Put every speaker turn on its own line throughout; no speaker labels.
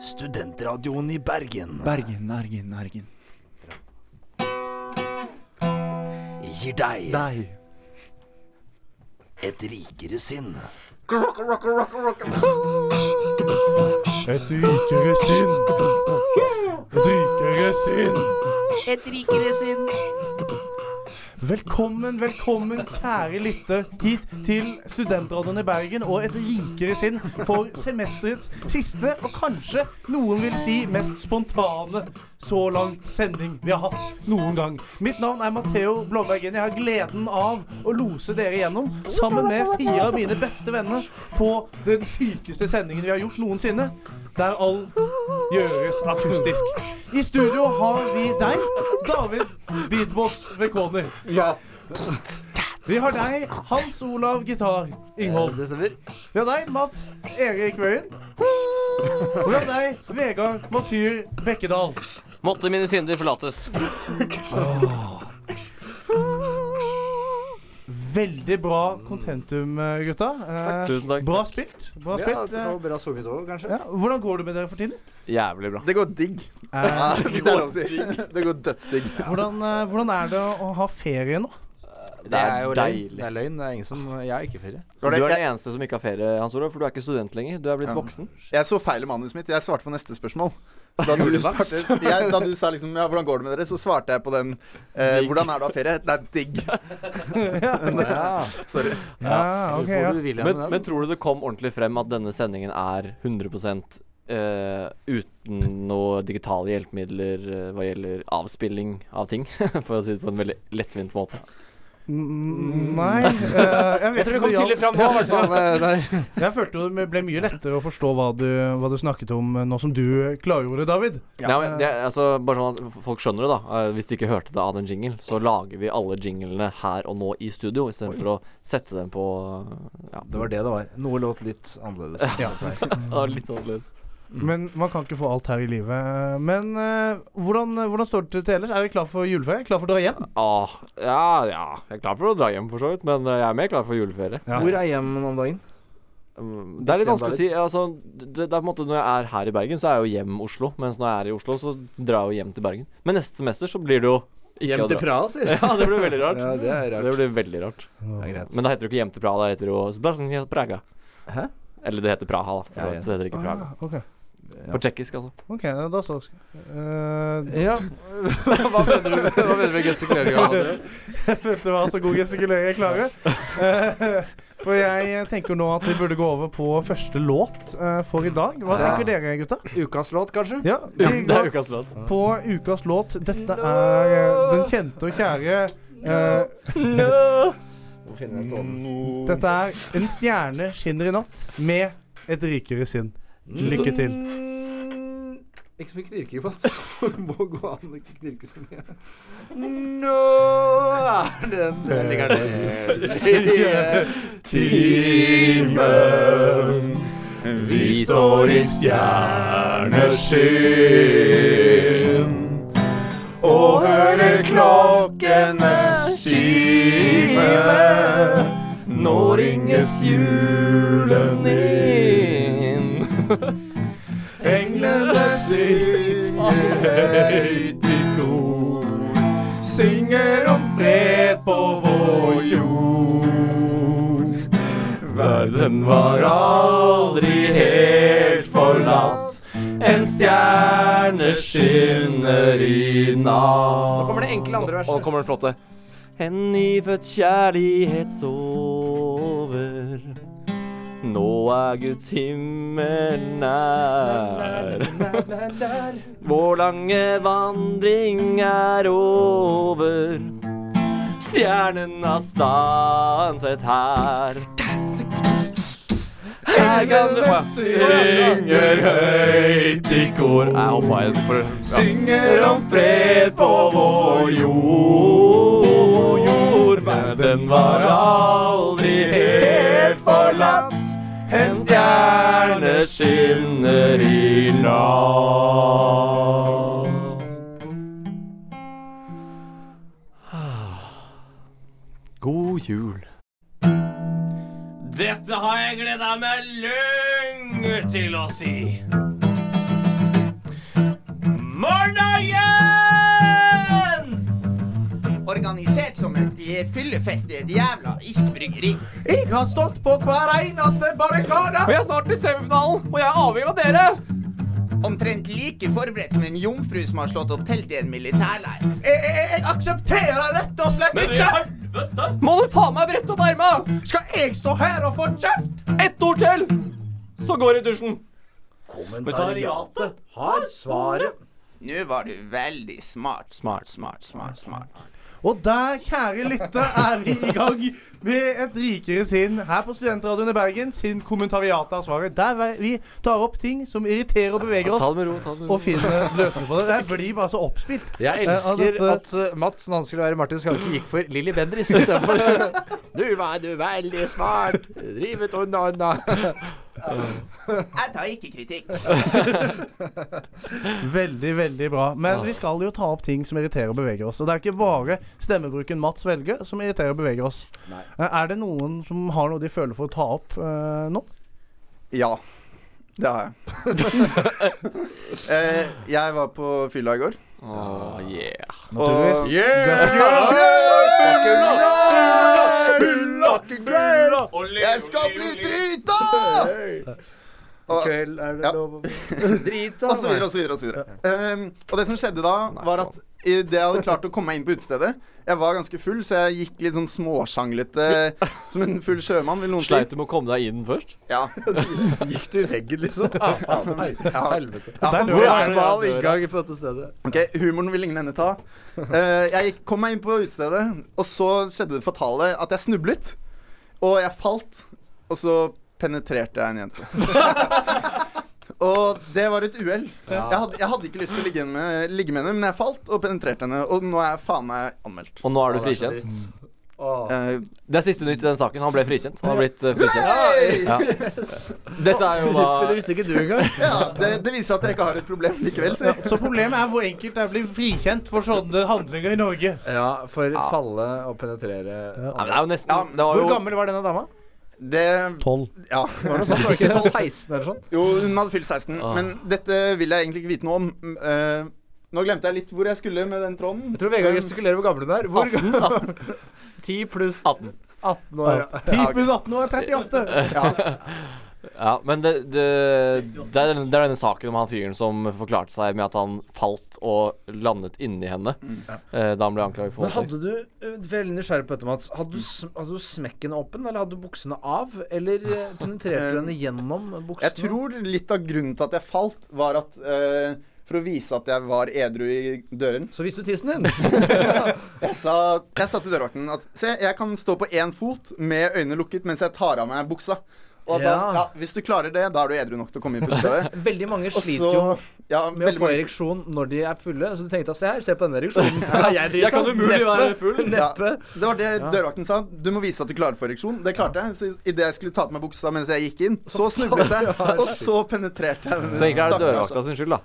Studentradioen i Bergen
Bergen, Bergen, Bergen.
gir deg
Deg.
et rikere sinn.
Et rikere sinn. Et rikere sinn.
Et rikere sinn.
Velkommen, velkommen, kjære lytter, hit til Studentradioen i Bergen og et rikere sinn for semesterets siste, og kanskje noen vil si mest spontane så langt sending vi har hatt noen gang. Mitt navn er Matheo Blåbergen. Jeg har gleden av å lose dere gjennom sammen med fire av mine beste venner på den sykeste sendingen vi har gjort noensinne, der all gjøres akustisk. I studio har vi deg, David Beatbox Vekoner.
Ja.
Vi har deg, Hans Olav Gitar Inghold.
Det stemmer.
Vi har deg, Mats Erik Wøien. Og vi har deg, Vegard Matyr Bekkedal.
Måtte mine synder forlates.
Veldig bra kontentum, gutta. Eh,
Tusen takk.
Bra spilt. Bra
ja,
spilt.
det
Eh,
var bra sovet òg, kanskje.
Ja, hvordan går det med dere for tiden?
Jævlig bra.
Det går digg,
Eh,
hvis det er lov å si. Det går dødsdigg.
hvordan, eh, hvordan er det å ha ferie nå?
Det er
løgn.
deilig.
Det er løgn. Det er ingen som Jeg har ikke ferie.
Du er
det,
den
jeg,
eneste som ikke har ferie, Hans Olav, for du er ikke student lenger. Du er blitt
Ja.
voksen.
jeg så feil i manuset mitt. Jeg svarte på neste spørsmål. Så Da du, svarte, jeg, da du sa liksom Ja, hvordan går det med dere? Så svarte jeg på den eh,
Digg.
Hvordan er det å ha ferie? Det er digg. Sorry.
Ja, ok, ja.
Men, men tror du det kom ordentlig frem at denne sendingen er 100 eh, uten noe digitale hjelpemidler eh, hva gjelder avspilling av ting? For å si det på en veldig lettvint måte.
Mm, Nei eh, Jeg vet ikke om det hjalp.
fram nå, i hvert fall. eh,
Jeg følte jo det ble mye lettere å forstå hva du, hva du snakket om eh, nå som du klargjorde, David.
Ja. men det, er- altså, bare sånn at f- folk skjønner det, da. Eh, Hvis de ikke hørte det av den jingle, så lager vi alle jinglene her og nå i studio, istedenfor å sette dem på eh, ja,
Det var det det var. Noe låt litt annerledes. enn det pleier.
Ja, litt annerledes.
Eh, Men man kan ikke få alt her i livet. Men eh, hvordan, hvordan står det til ellers? Er dere klar for juleferie? Klar for å dra hjem?
Ah, ja, ja. Jeg er klar for å dra hjem, for så vidt, men eh, jeg er mer klar for juleferie.
Ja.
Hvor er hjem om dagen?
Um, Det er litt
Tjene
vanskelig å si. Altså, det, det er på en måte Når jeg er her i Bergen, så er jeg jo hjem Oslo. Mens når jeg er i Oslo, så drar jeg jo hjem til Bergen. Men neste semester så blir det jo ikke å dra.
Praha, sier
Ja, det blir veldig rart.
Ja, det er rart.
Det blir veldig rart.
Det er greit.
Men da heter det ikke hjem til Praha, da heter det jo Zbrasnja Praga.
Hæ?
Eller det heter Praha, da. For
Ja,
så
ja.
vidt, så det heter ikke
Ah,
Praga.
ok,
På tsjekkisk, altså.
ok, da så Eh,
Ja.
Hva mener du Hva mener du med gestikulering av det?
Jeg følte det Eh, var så god gestikulering jeg klarer. Eh, for jeg tenker nå at vi burde gå over på første låt eh, for i dag. Hva
Ja.
tenker dere, gutta?
Ukas låt, kanskje?
Ja,
Ja,
vi
det
går
er ukas låt.
på ukas låt. Dette er eh, den kjente og kjære eh,
Må finne en tone.
Mm,
Dette er En stjerne skinner i natt med et rikere sinn. Lykke til.
Mm, Ikke så mye knirking på hans. Må gå an å ikke knirke så mye.
Nå er den Der ligger den.
Timen vi står i
stjerneskinn og hører klokkenes kime.
Nå ringes julen inn.
Englene synger høyt i kor, synger om fred på vår jord. Verden var aldri helt forlatt, en stjerne skinner i natt. Nå kommer det enkle andre verset.
Og kommer den flotte. En nyfødt kjærlighet sover. Nå er Guds himmel nær. Vår lange vandring er over. Stjernen har stanset her. Englene synger høyt i kor. Jeg hoppa igjen for ja. Synger om fred på vår jord. Verden var aldri helt forlatt. En stjerne skinner i natt. God jul. Dette har jeg gleda meg lenge til å si.
kommet eh, i fyllefestige jævla irsk bryggeri.
Jeg har stått på hver eneste barrikade!
Vi er snart i semifinalen, og jeg er avhengig av dere!
Omtrent like forberedt som en jomfru som har slått opp telt i en militærleir.
Jeg, jeg, jeg aksepterer rett og slett ikke!
Må du faen meg brette opp erma!
Skal jeg stå her og få kjeft?
Ett ord til, så går det i dusjen.
Kommentariatet har svaret.
Nå var du veldig smart, smart, smart, smart. smart.
Og der, kjære lytter, er vi i gang med Et rikere sinn her på Studentradioen i Bergen sin kommentariat av svaret. Der vei- vi tar opp ting som irriterer og beveger
Ta
oss,
det med ro. ta det med
og
ro.
finner løsninger på det. Jeg blir bare så oppspilt.
Jeg
Eh, av
elsker
dette-
at eh, Mats, når han skulle være Martin, Skanke, gikk for Lilly Bendriss istedenfor. Du var du veldig smart. Drivet unna, unna.
Jeg tar ikke kritikk.
Veldig, veldig bra. Men vi skal jo ta opp ting som irriterer og beveger oss. Og det er ikke bare stemmebruken Mats velger som irriterer og beveger oss. Eh, Er det noen som har noe de føler for å ta opp eh, nå?
Ja. Det har jeg. eh, jeg var på fylla i går.
Åh, yeah.
Og Jeg skal bli drita! Og,
Kveld
Ja.
er det lov å drite
og så videre og så videre. Og, så videre. Um, og det som skjedde da, var at idet jeg hadde klart å komme meg inn på utestedet Jeg var ganske full, så jeg gikk litt sånn småsjanglete som en full sjømann, vil noen si.
Sleit du med å komme deg inn først?
Ja.
Gikk du i veggen, liksom?
Ja.
Helvete.
Ja,
Der
Hvor
dør
er
jeg.
smal inngang på dette stedet?
Ok, Humoren vil ingen ende ta. Eh, jeg gikk- kom meg inn på utestedet, og så skjedde det fatale at jeg snublet. Og jeg falt, og så penetrerte jeg en jente. og det var et uhell. Jeg, hadde- jeg hadde ikke lyst til å ligge med, ligge med henne, men jeg falt og penetrerte henne. Og nå er jeg faen meg anmeldt.
Og nå er du frikjent?
Åh.
Eh,
Det er siste nytt i den saken. Han ble frikjent. Han har blitt eh, frikjent.
hei!
Ja. Dette er jo da
Men det visste ikke du engang.
ja, det, det viser at jeg ikke har et problem likevel, si.
Så problemet er hvor enkelt det er å bli frikjent for sånne handlinger i Norge.
Ja, for falle og penetrere
Nei, men
Ja,
det er jo nesten det var
Hvor
jo,
gammel var denne dama?
Det
Tolv.
Ja.
Var det sånn? Var det ikke 16 eller sånn?
Jo, hun hadde fylt 16,
Ah.
men dette vil jeg egentlig ikke vite noe om. Mm, eh, nå glemte jeg litt hvor jeg skulle med den tråden.
Jeg tror Vegard gestikulerer hvor gammel hun er. Hvor gammel? 10 pluss
18.
18 år. ja.
10 pluss 18 år er 38.
Ja, men det, det, det, er, det er denne saken om han fyren som forklarte seg med at han falt og landet inni henne eh, da han ble anklaget for
Men
voldtekt.
hadde du eh, Veldig nysgjerrig på dette, Mats. Hadde du, sm- hadde du smekken åpen, eller hadde du buksene av? Eller eh, penetrerte du henne gjennom buksene?
Jeg tror litt av grunnen til at jeg falt, var at eh, For å vise at jeg var edru i døren.
Så viste du tissen din.
Jeg sa, jeg sa til dørvakten at Se, jeg kan stå på én fot med øynene lukket mens jeg tar av meg buksa. Og at
Ja.
han, ja, Hvis du klarer det, da er du edru nok til å komme inn på utstedet.
Veldig mange
Og
sliter
så
jo
ja,
med å
veldig
få
mange-
ereksjon når de er fulle, så du tenkte at se her, se på denne ereksjonen. Ja, jeg driter.
Jeg kan umulig være full.
Ja,
Neppe.
det var det dørvakten sa. Du må vise at du klarer for ereksjon. Det klarte jeg. Så idet jeg skulle ta på meg buksa mens jeg gikk inn, så snublet jeg. Og så penetrerte jeg.
Så egentlig er
Stakkars-
det dørvakta sin skyld,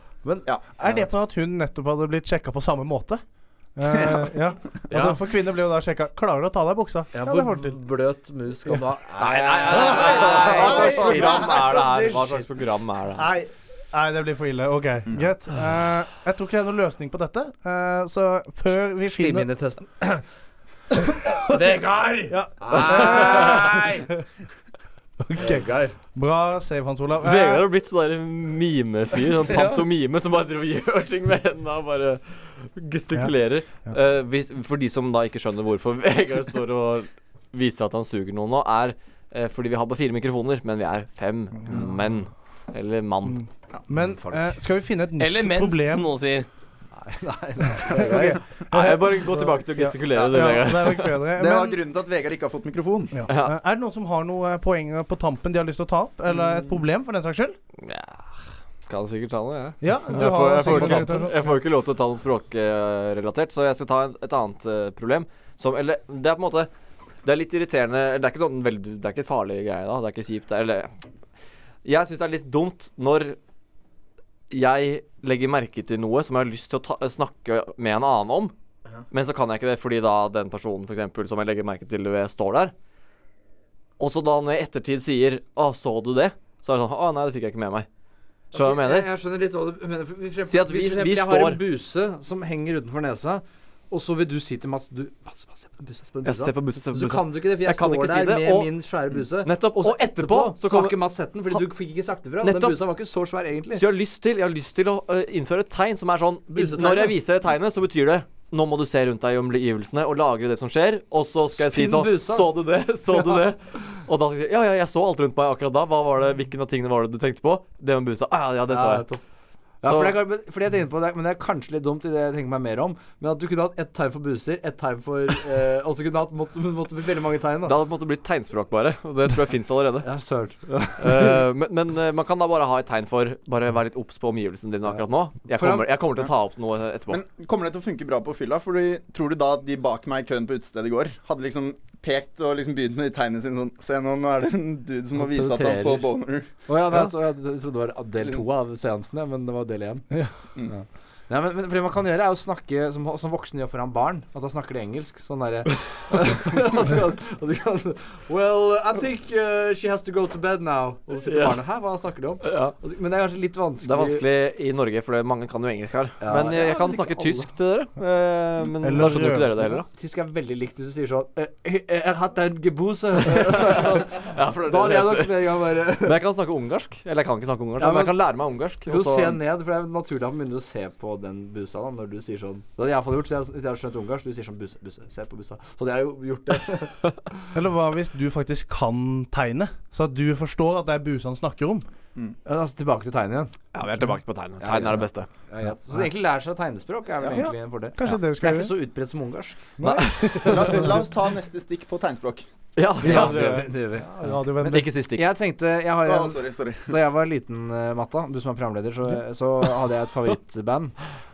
da.
Er det på at hun nettopp hadde blitt sjekka på samme måte? Eh, ja. Altså, for kvinner blir jo da sjekka Klarer du å ta av deg buksa? Ja,
Ja,
det får
hvor
du til.
bløt mus skal da
Nei, nei, nei, nei, nei, Hva slags program er det her? Hva slags program er det her?
Nei. Nei, det blir for ille. OK,
Mm.
greit. Eh, jeg tror ikke det er noen løsning på dette. eh, så før vi finner
Slimhinnetesten.
ja.
Vegard.
Bra save, Hans Olav. Eh,
Vegard har blitt sånn der mimefyr, sånn pantomime, som bare driver og gjør ting med hendene og bare gestikulerer. Eh, hvis, for de som da ikke skjønner hvorfor Vegard står og viser at han suger noen nå, er eh, fordi vi har bare fire mikrofoner, men vi er fem menn. Eller mann.
men eh, skal vi finne et nytt
Eller mens, som
Mm. problem?
noen sier.
Ok.
Nei, jeg bare gå tilbake til å gestikulere, du,
Ja,
Vegard.
det er nok bedre.
Det var
Men,
grunnen til at Vegard ikke har fått mikrofon.
ja. Eh, Er det noen som har noen poenger på tampen de har lyst til å ta opp? Eller
Mm.
et problem, for den saks skyld?
Ja, kan sikkert ta noe, jeg.
Ja, du
Jeg får,
har
jeg, får,
sikkert
ikke-
irritasjon.
jeg får ikke lov til å ta noe språkrelatert, så jeg skal ta en, et annet eh, problem. Som, eller, det er på en måte Det er litt irriterende eller Det er ikke sånn veldig Det er ikke farlig greie, da. Det er ikke kjipt. det er- Eller Jeg syns det er litt dumt når jeg legger merke til noe som jeg har lyst til å ta, snakke med en annen om, men så kan jeg ikke det fordi da den personen for eksempel, som jeg legger merke til, ved står der. Og så da når jeg i ettertid sier 'Å, så du det?' Så er det sånn 'Å, nei, det fikk jeg ikke med meg'. Skjønner du hva jeg mener?
Jeg skjønner litt hva du mener. for vi frem-
Si at
hvis
vi-
for eksempel
vi
Jeg har
står-
en buse som henger utenfor nesa. Og så vil du si til Mats du, Mats, Mats, se på bussa, se på
Jeg
bussa.
ser på bussen, ser på
Så
bussen.
kan du ikke det, for jeg,
Jeg kan
står
ikke si
der
det,
med
og-
min svære buse.
Nettopp. Og etterpå så
så kan
kommer-
ikke Mats sett den, fordi
Han-
du fikk ikke sagt det fra.
Nettopp.
Den busa var ikke så svær egentlig.
Så jeg har lyst til, jeg har lyst til å øh, innføre et tegn som er sånn i-
Busetegnet.
Når jeg viser deg tegnet, så betyr det nå må du se rundt deg i omgivelsene og lagre det som skjer. Og så skal jeg si
Spinn
sånn
busa.
Så du det? Så du det? Og da skal jeg si ja, ja, jeg så alt rundt meg akkurat da. Hva var det, Hvilken av tingene var det du tenkte på? Det med busa. Ah, ja, ja, det sa
Ja,
jeg.
topp. Ja,
Så-
for det, er, kanskje- fordi jeg tenkte på det, men det er kanskje litt dumt i det jeg tenker meg mer om. Men at du kunne hatt ett tegn for buser, ett tegn for eh, Og så kunne du hatt måtte, måtte bli veldig mange tegn,
Det
da.
hadde på en måte blitt tegnspråk, bare. Og det tror jeg fins allerede.
Ja, søren. Ja.
Eh, men men eh, man kan da bare ha et tegn for Bare være litt obs på omgivelsene dine akkurat nå. Jeg
For han-
kommer, jeg kommer til å ta opp noe etterpå.
Men kommer det til å funke bra på fylla? Fordi, tror du da at de bak meg i køen på utestedet i går hadde liksom pekt og liksom begynt med de tegnene sine sånn Se nå, nå er det en dude som må vise at han får boner.
Å ja, nei, så jeg trodde det var del to av seansen, ja, men det var del én. Ja.
Mm.
Nei, men, men for det man kan gjøre, er å snakke som, som voksen gjør foran barn. At da snakker de engelsk. Sånn derre at du kan- at du kan, Well, I think eh, she has to go to bed now. Og så sitter
Ja.
barnet her, hva snakker de om?
Ja.
Og så- Men det er kanskje litt vanskelig.
Det er vanskelig i Norge, for det- mange kan jo engelsk her.
Ja,
men jeg,
ja,
jeg kan
men
snakke
ikke alle.
tysk til dere. eh, men
Eller
da skjønner jo ikke dere det heller, da.
Tysk er veldig likt hvis du sier sånn eh, eh, Jeg har hatt en gebuse. sånn,
Ja, for det
da
er
hadde
det
jeg
det
nok med en gang bare
Men jeg kan snakke ungarsk. Eller jeg kan ikke snakke ungarsk,
Ja,
men jeg
men-
kan lære meg ungarsk.
Jo, se ned, for det er naturlig at man begynner å se på den busa da, når du sier sånn Det hadde jeg iallfall gjort, så jeg, hvis jeg hadde skjønt ungarsk. Du sier sånn busse, busse, se på bussa. Så hadde jeg jo gjort det.
Eller hva hvis du faktisk kan tegne, så at du forstår at det er busa han snakker om?
altså tilbake til tegnet igjen.
ja, vi er tilbake på tegnet. Tegn er det beste.
Ja, så egentlig lære seg tegnespråk er vel
Ja.
egentlig en fordel.
Kanskje det vi
Det er
skal
ikke
gjøre?
så utbredt som ungarsk.
La, la oss ta neste stikk på tegnspråk.
Ja, ja,
det, det gjør vi. altså.
Radiovennlig.
Ikke sist ikke.
Jeg tenkte Jeg har
Å,
en
sorry, sorry.
Da jeg var liten, eh, Matta, du som er programleder, så, så hadde jeg et favorittband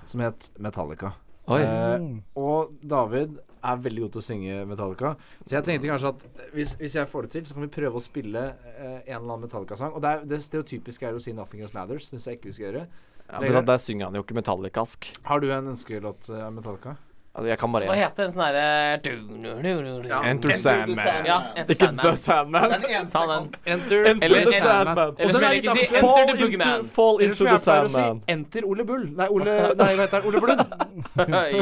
som het Metallica.
Oi.
Eh, og David er veldig god til å synge Metallica. Så jeg tenkte kanskje at hvis, hvis jeg får det til, så kan vi prøve å spille eh, en eller annen Metallica-sang. Og det, er, det stereotypiske er å si 'Nothing Else Matters'. Syns jeg ikke vi skal gjøre.
Ja, men da- der synger han jo ikke metallicask.
Har du en ønskelåt eh, av Metallica?
Altså, Jeg kan bare
Hva
én.
heter den sånn derre
Enter Sandman.
Ja, Enter
Ikke The
Sandman.
Sandman.
Den eneste
Ta
jeg
den.
kan.
Enter,
Eller
Eller-
Sandman.
Eller som
den er
jeg
litt
liker å si,
aktuell.
Enter
Fall
the
into,
Boogeyman.
fall
Eller
into
som
the
jeg pleier å si,
Sandman.
Enter Ole Bull. Nei, Ole, nei hva heter han? Ole Blund?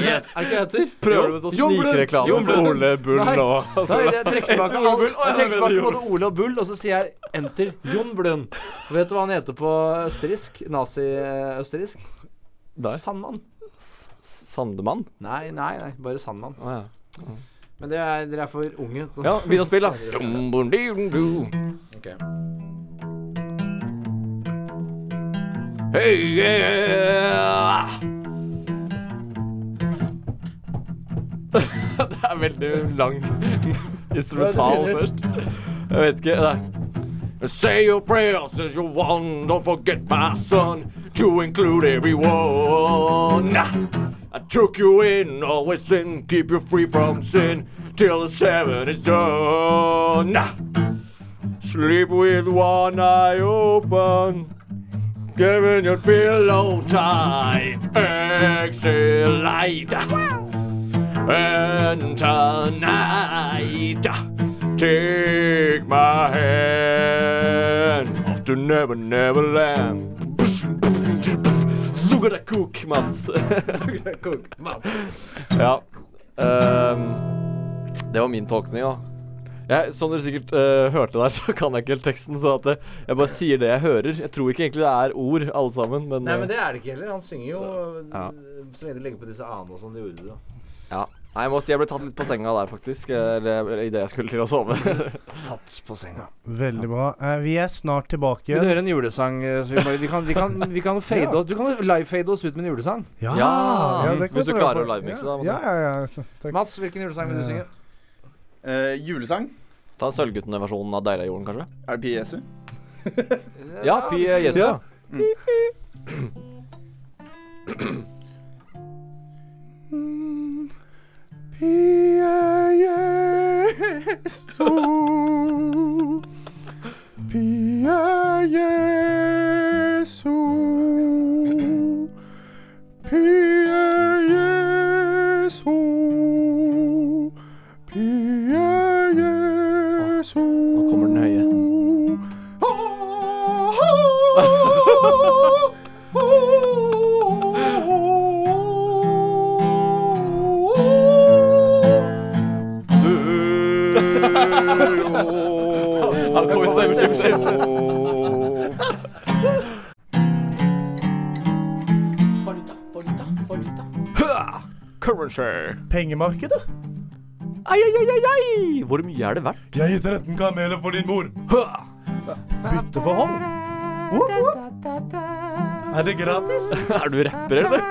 Yes.
Er det ikke det heter?
Prøver du med sånn
Jon Blund.
snikreklame
Jon
for
Blund.
Ole Bull
Nei.
nå?
Nei, jeg trekker tilbake
Ole
all,
Bull. Å,
jeg
jeg
trekker
vet det
tilbake
gjorde.
både Ole og Bull, og så sier jeg enter Jon Blund. Vet du hva han heter på østerriksk? Nazi-østerriksk?
Der.
Sandmann.
S- S- Sandemann?
Nei, nei, nei, bare Sandmann.
Å ja.
Men det er, dere er for unge. Så.
Ja, begynn å spille, da. Dum, bum, dum, dum.
altså. Ok.
Hey, yeah. det er veldig lang instrumental
Ja, det
først. Jeg vet ikke. Nei. Say your prayers as you want, don't forget my son, to include everyone. I took you in, always sin, keep you free from sin, till the seven is done. Sleep with one eye open. Giving your pillow time, exhale light, and tonight, take my hand off to never, never land. Sugar cook, Mats. Ja. ehm, det var min tolkning, da. Jeg, som dere sikkert eh, hørte der, så kan jeg ikke helt teksten. Så at jeg, jeg bare sier det jeg hører. Jeg tror ikke egentlig det er ord, alle sammen. Men,
Nei, men
eh,
det er det ikke heller. Han synger jo
Ja.
så lenge du legger på disse a-ene og sånn. Det gjorde du, da.
ja. Nei, jeg må si jeg ble tatt litt på senga der, faktisk. eh, Eller idet jeg skulle til å sove.
Tatt på senga.
Veldig bra. Eh, vi er snart tilbake.
Vil du høre en julesang? eh, Så vi, bare, vi, kan, vi, kan, vi kan fade oss Du kan live-fade oss ut med en julesang.
Ja,
Ja,
det kan
hvis
vi
du
prøve
klarer
på.
å livemixe,
ja.
da, men-
Ja, ja, ja. altså, så- Takk.
Mats, hvilken julesang vil du synge?
Eh, julesang.
Ta Sølvguttene-versjonen av Deilig er jorden, kanskje?
Er det Pi Jesu?
Ja, Pi eh, Jesu.
Ja.
Nå kommer den høye. currency.
Pengemarkedet?
Ai, ai, ai, ai, ai. Hvor mye er det verdt?
Jeg gir 13 kameler for din mor. Bytteforhold? Er det gratis?
Er du rapper, eller?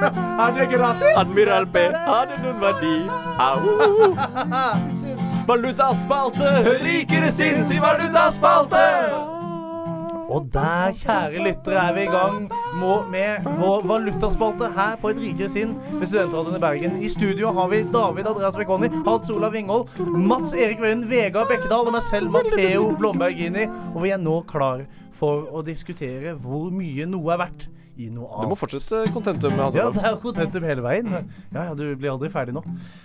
Er det gratis?
Admiral B, har det noen verdi? Au! Valutaspalte! Rikere sinns i valutaspalte!
Og der, kjære lyttere, er vi i gang må- med vår valutaspalte her på Et rikere sinn ved Studentradioen i Bergen. I studio har vi David Andreas Vekoni, Hans Olav Vinghold, Mats Erik Wøien, Vegard Bekkedal og meg selv, Matheo Blombergini. Og vi er nå klar for å diskutere hvor mye noe er verdt i noe annet.
Du må fortsette contentum.
Ja,
Altså.
det er jo kontentum hele veien. Ja, ja, Du blir aldri ferdig nå.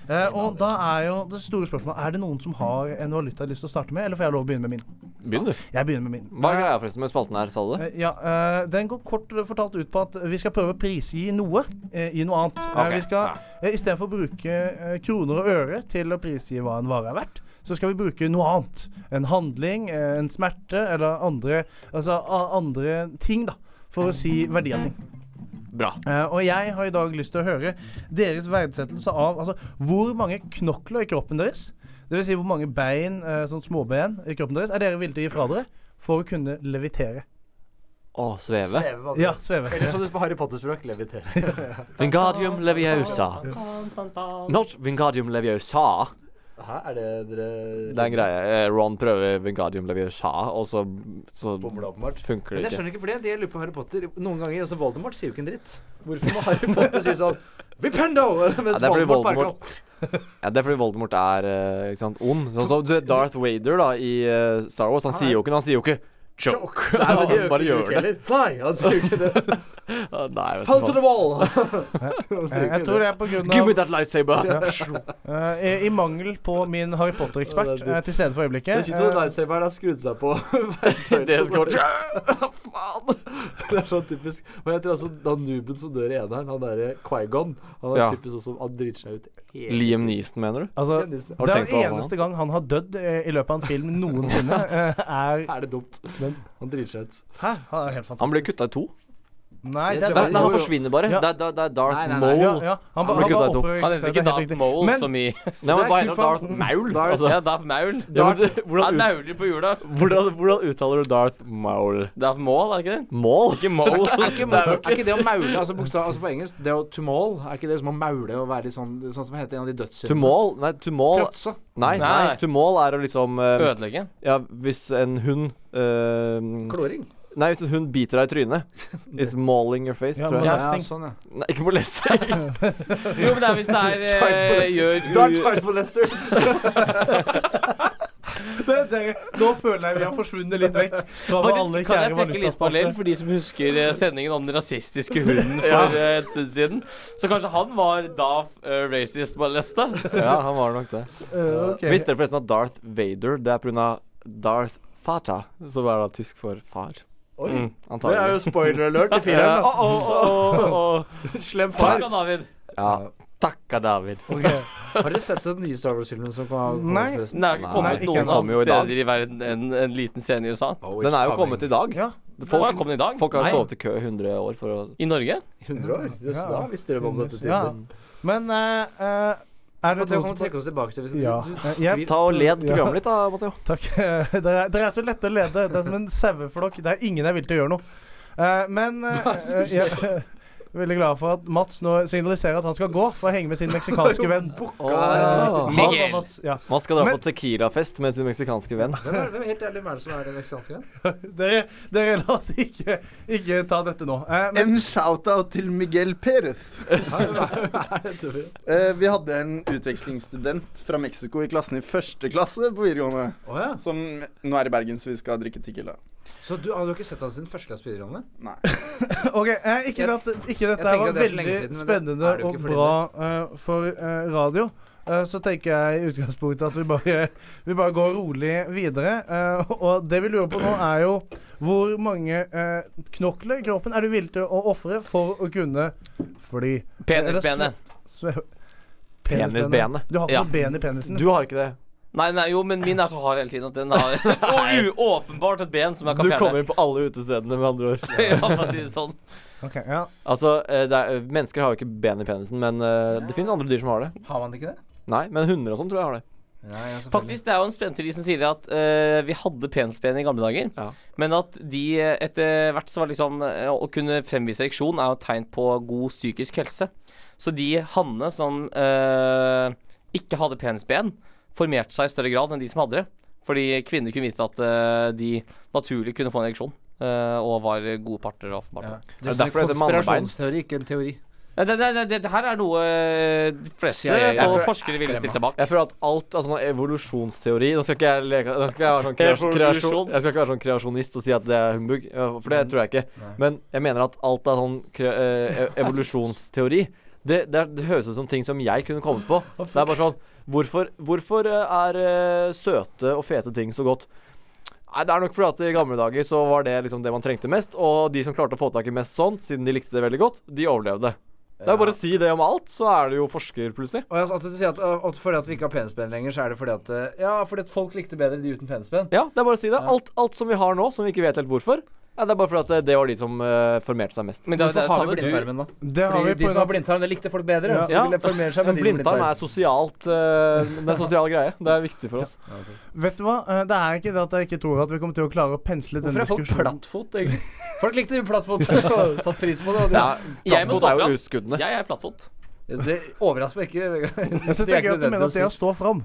Eh, og da er jo det store spørsmålet Er det noen som har en valuta de har lyst til å starte med, eller får jeg lov å begynne med min?
Begynn, du.
Jeg begynner med min.
Hva er greia forresten med spalten her, sa du? det?
Eh, Ja, eh, Den går kort fortalt ut på at vi skal prøve å prisgi noe eh, i noe annet. Eh,
Ok,
Vi skal, eh, Istedenfor å bruke eh, kroner og øre til å prisgi hva en vare er verdt, så skal vi bruke noe annet. En handling, eh, en smerte eller andre, altså, a- andre ting, da. For å si verdi av ting.
Bra.
Eh, og jeg har i dag lyst til å høre deres verdsettelse av altså, hvor mange knokler i kroppen deres, dvs. Si hvor mange bein, eh, sånn småben i kroppen deres, er dere villige til å gi fra dere for å kunne levitere?
Å, sveve.
Sveve, altså.
Ja, sveve.
Eller som det på Harry Potter-språk, levitere.
Vingadium leviosa. Not Vingadium leviosa.
Hæ, er det dere
Det er en greie. Eh, Ron prøver Vingadium leviosa, og så, så
Bomla, åpenbart.
funker
Men
det
jeg
ikke.
skjønner ikke, for det er det jeg lurer på Harry Potter. Noen ganger, altså Voldemort sier jo ikke en dritt. Hvorfor må Harry Potter si sånn Vipendo!
Ja,
Mens
det er fordi
Voldemort bare
Voldemort-
kan
Ja, det er fordi Voldemort er eh, ikke sant, ond. Sånn som du vet, Darth Vader da, i eh, Star Wars. Han sier jo ikke Han sier jo ikke choke. Nei,
Nei, men
han
det gjør
bare
ikke
gjør
Luke
det.
heller. Fly! Han sier jo ikke det.
Ja, Ah, Nei, vet
Fall
du
to
faen.
the wall! Han sier
Eh,
jo
jeg
ikke
tror
det.
det er på grunn
Give
av
me that lightsaber!
eh, i- I mangel på min Harry
Ja,
Potter-ekspert
det er dyrt.
eh, til stede for
Det
øyeblikket.
er kjipt at
eh,
lightsaberen har skrudd seg på. sånn
Det er klart.
Faen! Det er sånn typisk. Men jeg tror altså han nooben som dør i eneren, han derre Quaigon, han er
Ja.
typisk sånn som Han driter seg ut hele
Liam Neeson, mener du?
altså,
tiden.
Har
det er
du tenkt på
den
han,
eneste gang han har dødd eh, i løpet av en film noensinne, eh, er
Er det dumt? Han driter seg ut.
Hæ? Han er helt fantastisk.
Han blir kutta i to.
Nei,
Det
det
tror
er
Nei,
jeg
nei,
jo,
han
jo.
forsvinner bare.
Ja.
Det, er, det er- det er Darth
Nei, nei, nei.
Maul.
Ja, ja. Han, ba-
blir
han
kuttet i
bare
to.
opprører
Han heter ikke Darth Mole
Men-
som i
Nei,
Det er
men bare
kult,
heter Darth
faen.
Maul.
Darth-
Altså.
Ja, Darth Maul.
Ja, men det-
Han
hvordan, ut-
nauler på jorda.
hvordan, hvordan uttaler du Darth Maul?
Darth Maul, er det ikke det?
Maul?
Ikke Mole.
Er ikke, er ikke det å maule altså, bokstav, altså på engelsk Det å to maul er ikke det som å maule og være litt sånn Sånn som heter en av de
To
dødssyndene?
Maul? Nei, to Maul
Fråtse.
Nei, nei.
Nei.
to Maul er å liksom eh,
Ødelegge.
Ja, hvis en hund eh,
Kloring.
Nei, hvis en hund biter deg i trynet It's mauling your face,
Ja,
tror
men-
jeg.
Ja,
Molesting.
sånn, ja.
Nei, ikke molesting.
Jo, men det er hvis det er eh, gjør
molester.
Men dere, nå føler jeg vi har forsvunnet litt vekk fra vår aller
Faktisk, kan jeg
kjære
trekke litt
valutaspalte.
parallell for de som husker eh, sendingen om den rasistiske hunden for eh, en stund siden? Så kanskje han var da eh, racist molesta?
ja, han var nok det.
Eh, ok.
Visste dere forresten at Darth Vader Det er pga. Darth Fata, som er da tysk for far.
Mm.
Antagelig.
spoiler alert i
Eh, å, å, å, å, å.
Slem
Takk, David.
Ja. Takka, David.
Ok.
Har dere sett den nye Star Wars-filmen som kom? kom
Nei.
forresten?
Den er jo ikke
Nei,
kommet
ikke
noen
ennå.
Kommer jo i
andre
dag.
steder i verden enn en liten scene i USA.
Oh,
Den er jo kommet i dag.
Ja.
Folk, kom den i dag?
Folk har
Nei.
jo sovet i kø i 100 år for å
I Norge?
100 år? Jøss,
Ja.
da visste dere om dette
Ja.
tidligere.
Men eh, eh, er det noen
Matteo, kan
som
du trekke oss tilbake til hvis
Ja.
du, du,
Eh, jeg-
Ta og led
Ja.
programmet ditt, da, Matheo.
Takk. Eh, Dere er, dere er så lette å lede. Det er som en saueflokk der ingen er villig til å gjøre noe. Eh, men eh, jeg er veldig glad for at Mats nå signaliserer at han skal gå for å henge med sin meksikanske venn.
eh, Åh.
Han
Miguel.
og Mats, ja.
Man skal dra
Men-
på tequilafest med sin meksikanske venn.
hvem er, hvem, helt ærlig, hvem er det som er den meksikanske?
dere, dere, la oss ikke, ikke ta dette nå. Eh, men
En shout-out til Miguel Perez. Eh, vi hadde en utvekslingsstudent fra Mexico i klassen i første klasse på videregående.
Å ja.
Som nå er i Bergen, så vi skal drikke tequila.
Så du, har du ikke sett han siden første klasse på videregående?
Nei.
Ok, eh, ikke, at, ikke dette her
tenker
var
at det er så lenge
veldig
siden, men det
spennende
er det jo
og
ikke fordi
bra eh, for eh, radio. Eh, så tenker jeg i utgangspunktet at vi bare, vi bare går rolig videre. Eh, og det vi lurer på nå, er jo hvor mange eh, knokler i kroppen er du villig til å ofre for å kunne fly? Eller
Penisbenet.
sve- sve-
Penisbenet.
Du har ikke
Ja.
noe ben i penisen?
Du har ikke det.
Nei, nei, jo, men min er så hard hele tiden at den har Og uåpenbart et ben som jeg kan
Du
fjerne.
kommer inn på alle utestedene, med andre ord.
ja, for å si det sånn.
Ok, ja.
Altså, eh, det er, Mennesker har jo ikke ben i penisen, men eh, det fins andre dyr som har det.
Har man ikke det?
Nei, men hunder og sånn tror jeg har det.
Ja, ja, selvfølgelig.
Faktisk, det er jo en spennteori som sier at eh, vi hadde penisben i gamle dager,
Ja.
men at de eh, etter hvert så var liksom eh, Å kunne fremvise ereksjon er jo et tegn på god psykisk helse. Så de hannene som eh, ikke hadde penisben, formerte seg i større grad enn de som hadde det. Fordi kvinner kunne vite at eh, de naturlig kunne få en ereksjon. eh, og var gode parter av partene.
Ja.
Det
Det
er
er
derfor det heter mannebein.
konspirasjonsteori, ikke en teori.
Nei, det, det, det, det her er noe eh, de fleste
Ja, ja, ja.
og
Jeg
forskere ville stilt seg bak.
Jeg føler at alt altså sånn evolusjonsteori Nå skal ikke jeg leke nå skal jeg, være sånn kreasjon,
Evolusjons.
kreasjon, jeg skal ikke være sånn kreasjonist og si at det er humbug, eh, for det tror jeg ikke. Men jeg mener at alt er sånn kre, eh, e- evolusjonsteori. Det, det, er, det høres ut som ting som jeg kunne kommet på. Det er bare sånn Hvorfor, hvorfor eh, er eh, søte og fete ting så godt? Nei, Det er nok fordi at i gamle dager så var det liksom det man trengte mest. Og de som klarte å få tak i mest sånt, siden de likte det veldig godt, de overlevde. Det er bare å si det om alt, så er du jo forsker plutselig.
Og jeg, at du sier at, at fordi at vi ikke har penisben lenger, så er det fordi at eh, Ja, fordi at folk likte bedre de uten penisben.
Ja, det er bare å si det. Alt, alt som vi har nå, som vi ikke vet helt hvorfor, ja, det er bare fordi at det- det var de som eh, formerte seg mest.
Men det, er- det
Hvorfor
er
har vi
samme du
blindtarmen, da?
Det har
Fordi
vi på
de
en
som har
måte.
blindtarm, de likte folk bedre.
Ja.
Så de ville formere seg
Men
med de med
blindtarm er sosialt eh, Det er en sosial greie. Det er viktig for oss.
Vet du hva? Eh, Det er ikke det at jeg ikke tror at vi kommer til å klare å pensle denne
Hvorfor er folk
diskusjonen.
plattfot, egentlig? Folk likte plattfot og satte pris på det. Og de,
Ja,
Jeg må
Plattfot
stå
er jo
fram.
uskuddene.
Jeg er plattfot.
Det overrasker meg ikke. Vegard.
Jeg synes
Det
det
er
er gøy at du
ikke
mener at det er å stå fram.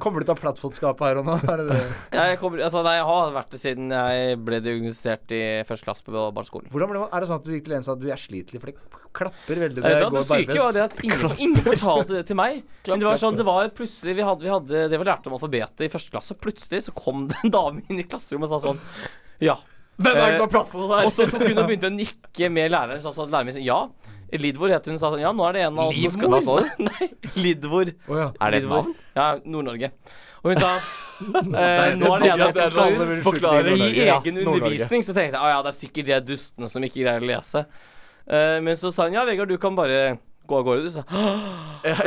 Kommer du til å ha plattfotskapet her og nå? Er det det?
Jeg, kommer, altså, nei, jeg har vært det siden jeg ble diagnostisert i første klasse på barneskolen.
Hvordan ble man, Er det sånn at du gikk til en sa at du er slitlig, for det klapper veldig når
Eh,
jeg
da, det
går
syke
barbent?
var det at ingen, ingen fortalte det til meg. Men det var sånn, det var plutselig vi hadde, vi hadde Det vi lærte om alfabetet i første klasse, plutselig så kom det en dame inn i klasserommet og sa sånn Ja. Hvem er det som har plattform her? Og så tok hun og begynte å nikke med læreren. Så sa læreren min sånn Ja. Lidvor het hun. Sa sånn Ja, nå er det en av oss som skal
Hva sa du?
Nei, Lidvor.
Er det et
Lidvor.
navn?
Ja, Nord-Norge. Og hun sa eh, Nå er det en av oss som skal ut.
Forklare
I egen undervisning så tenkte jeg ah, ja, det er sikkert de dustene som ikke greier å lese. Eh, men så sa hun ja, Vegard, du kan bare gå av gårde, du. Så,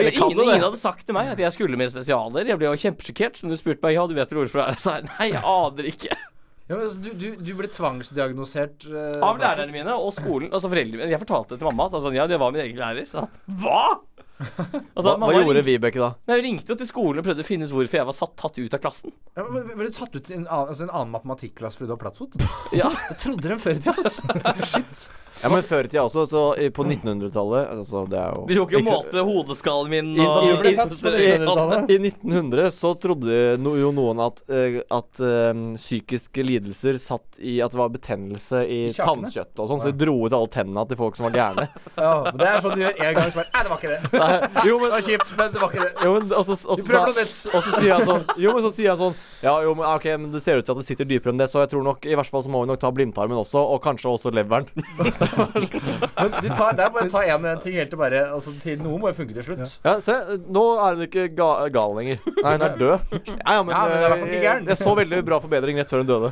ingen, ingen hadde sagt til meg at jeg skulle med spesialer. Jeg ble jo kjempesjokkert. Som du spurte meg ja, du vet vel hvorfor det er Så sa jeg nei, jeg aner ikke.
Ja, men altså, du, du, du ble tvangsdiagnosert eh,
Av lærerne mine og skolen. Altså foreldrene mine. Jeg fortalte det til mamma. Så sa hun, ja, det var min egen lærer. Så, Hva?! Altså,
Hva, hva gjorde
ringte,
Vibeke da?
Nei, Hun ringte jo til skolen og prøvde å finne ut hvorfor jeg var satt, tatt ut av klassen.
Ja, men, men, ble du tatt ut i en annen, altså en annen matematikklasse fordi du har plattfot?
Ja.
Jeg trodde dem før i tida, altså.
Ja, men Før i tida også, så i- på 1900-tallet altså, Det er jo
De tok jo
ikke så-
måte hodeskallen min
I-
og
i- i-
På
I 1900 så trodde no, jo noen at, eh, at eh, psykiske lidelser satt i at det var betennelse i,
I kjakene?
tannkjøttet og sånn, så de dro ut alle tennene til folk som var gærne.
Ja, men det er sånn du gjør én gang, så bare Nei, det var ikke det.
Nei, jo, men,
Det var kjipt, men det var ikke det.
jo, men og så, og
Vi
så
prøver
sa-
noe nytt.
og så sier han sånn Jo, men så sier han sånn Ja, jo, men ok, men det ser ut til at det sitter dypere enn det, så jeg tror nok I hvert fall så må vi nok ta blindtarmen også, og kanskje også leveren.
Men de tar, det er bare å ta én og én ting helt til bare altså, til Noe må jo funke til slutt.
Ja, se, nå er hun ikke ga gal lenger. Nei, hun er død. Ja, ja, men,
Ja, men hun er i hvert fall
eh,
ikke gæren.
Jeg så veldig bra forbedring rett før hun døde.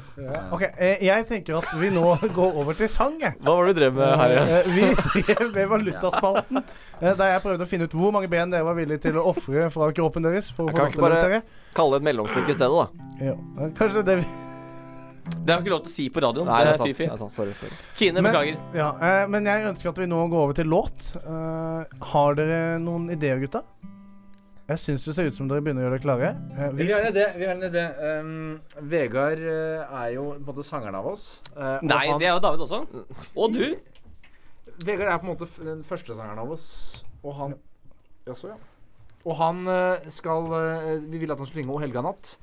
Ok, eh, Jeg tenker at vi nå går over til sang, jeg.
Hva var det du drev med her igjen?
Eh, Vi drev med valutaspalten, eh, der jeg prøvde å finne ut hvor mange ben dere var villige til å ofre fra kroppen deres for å
Jeg
få
kan
lov
ikke
til å
bare-
dere.
Kalle det et mellomstykke i stedet, da.
Ja, eh, Kanskje det er det vi
Det har ikke lov til å si på radioen.
Nei, det er sant.
fifi.
Det er sant. Sorry, sorry.
Kine,
Men-
beklager.
Ja, eh, men jeg ønsker at vi nå går over til låt. Eh, har dere noen ideer, gutta? Jeg syns det ser ut som dere begynner å gjøre dere klare. Eh,
Vi
vi,
har en idé. Vi har en idé. Um, Vegard eh, er jo på en måte sangeren av oss. eh, og
Nei,
han-
det er jo David også. Og du.
Vegard er på en måte f- den første sangeren av oss, og han Jaså, ja. Og han eh, skal eh, Vi ville at han skulle synge 'O helga natt',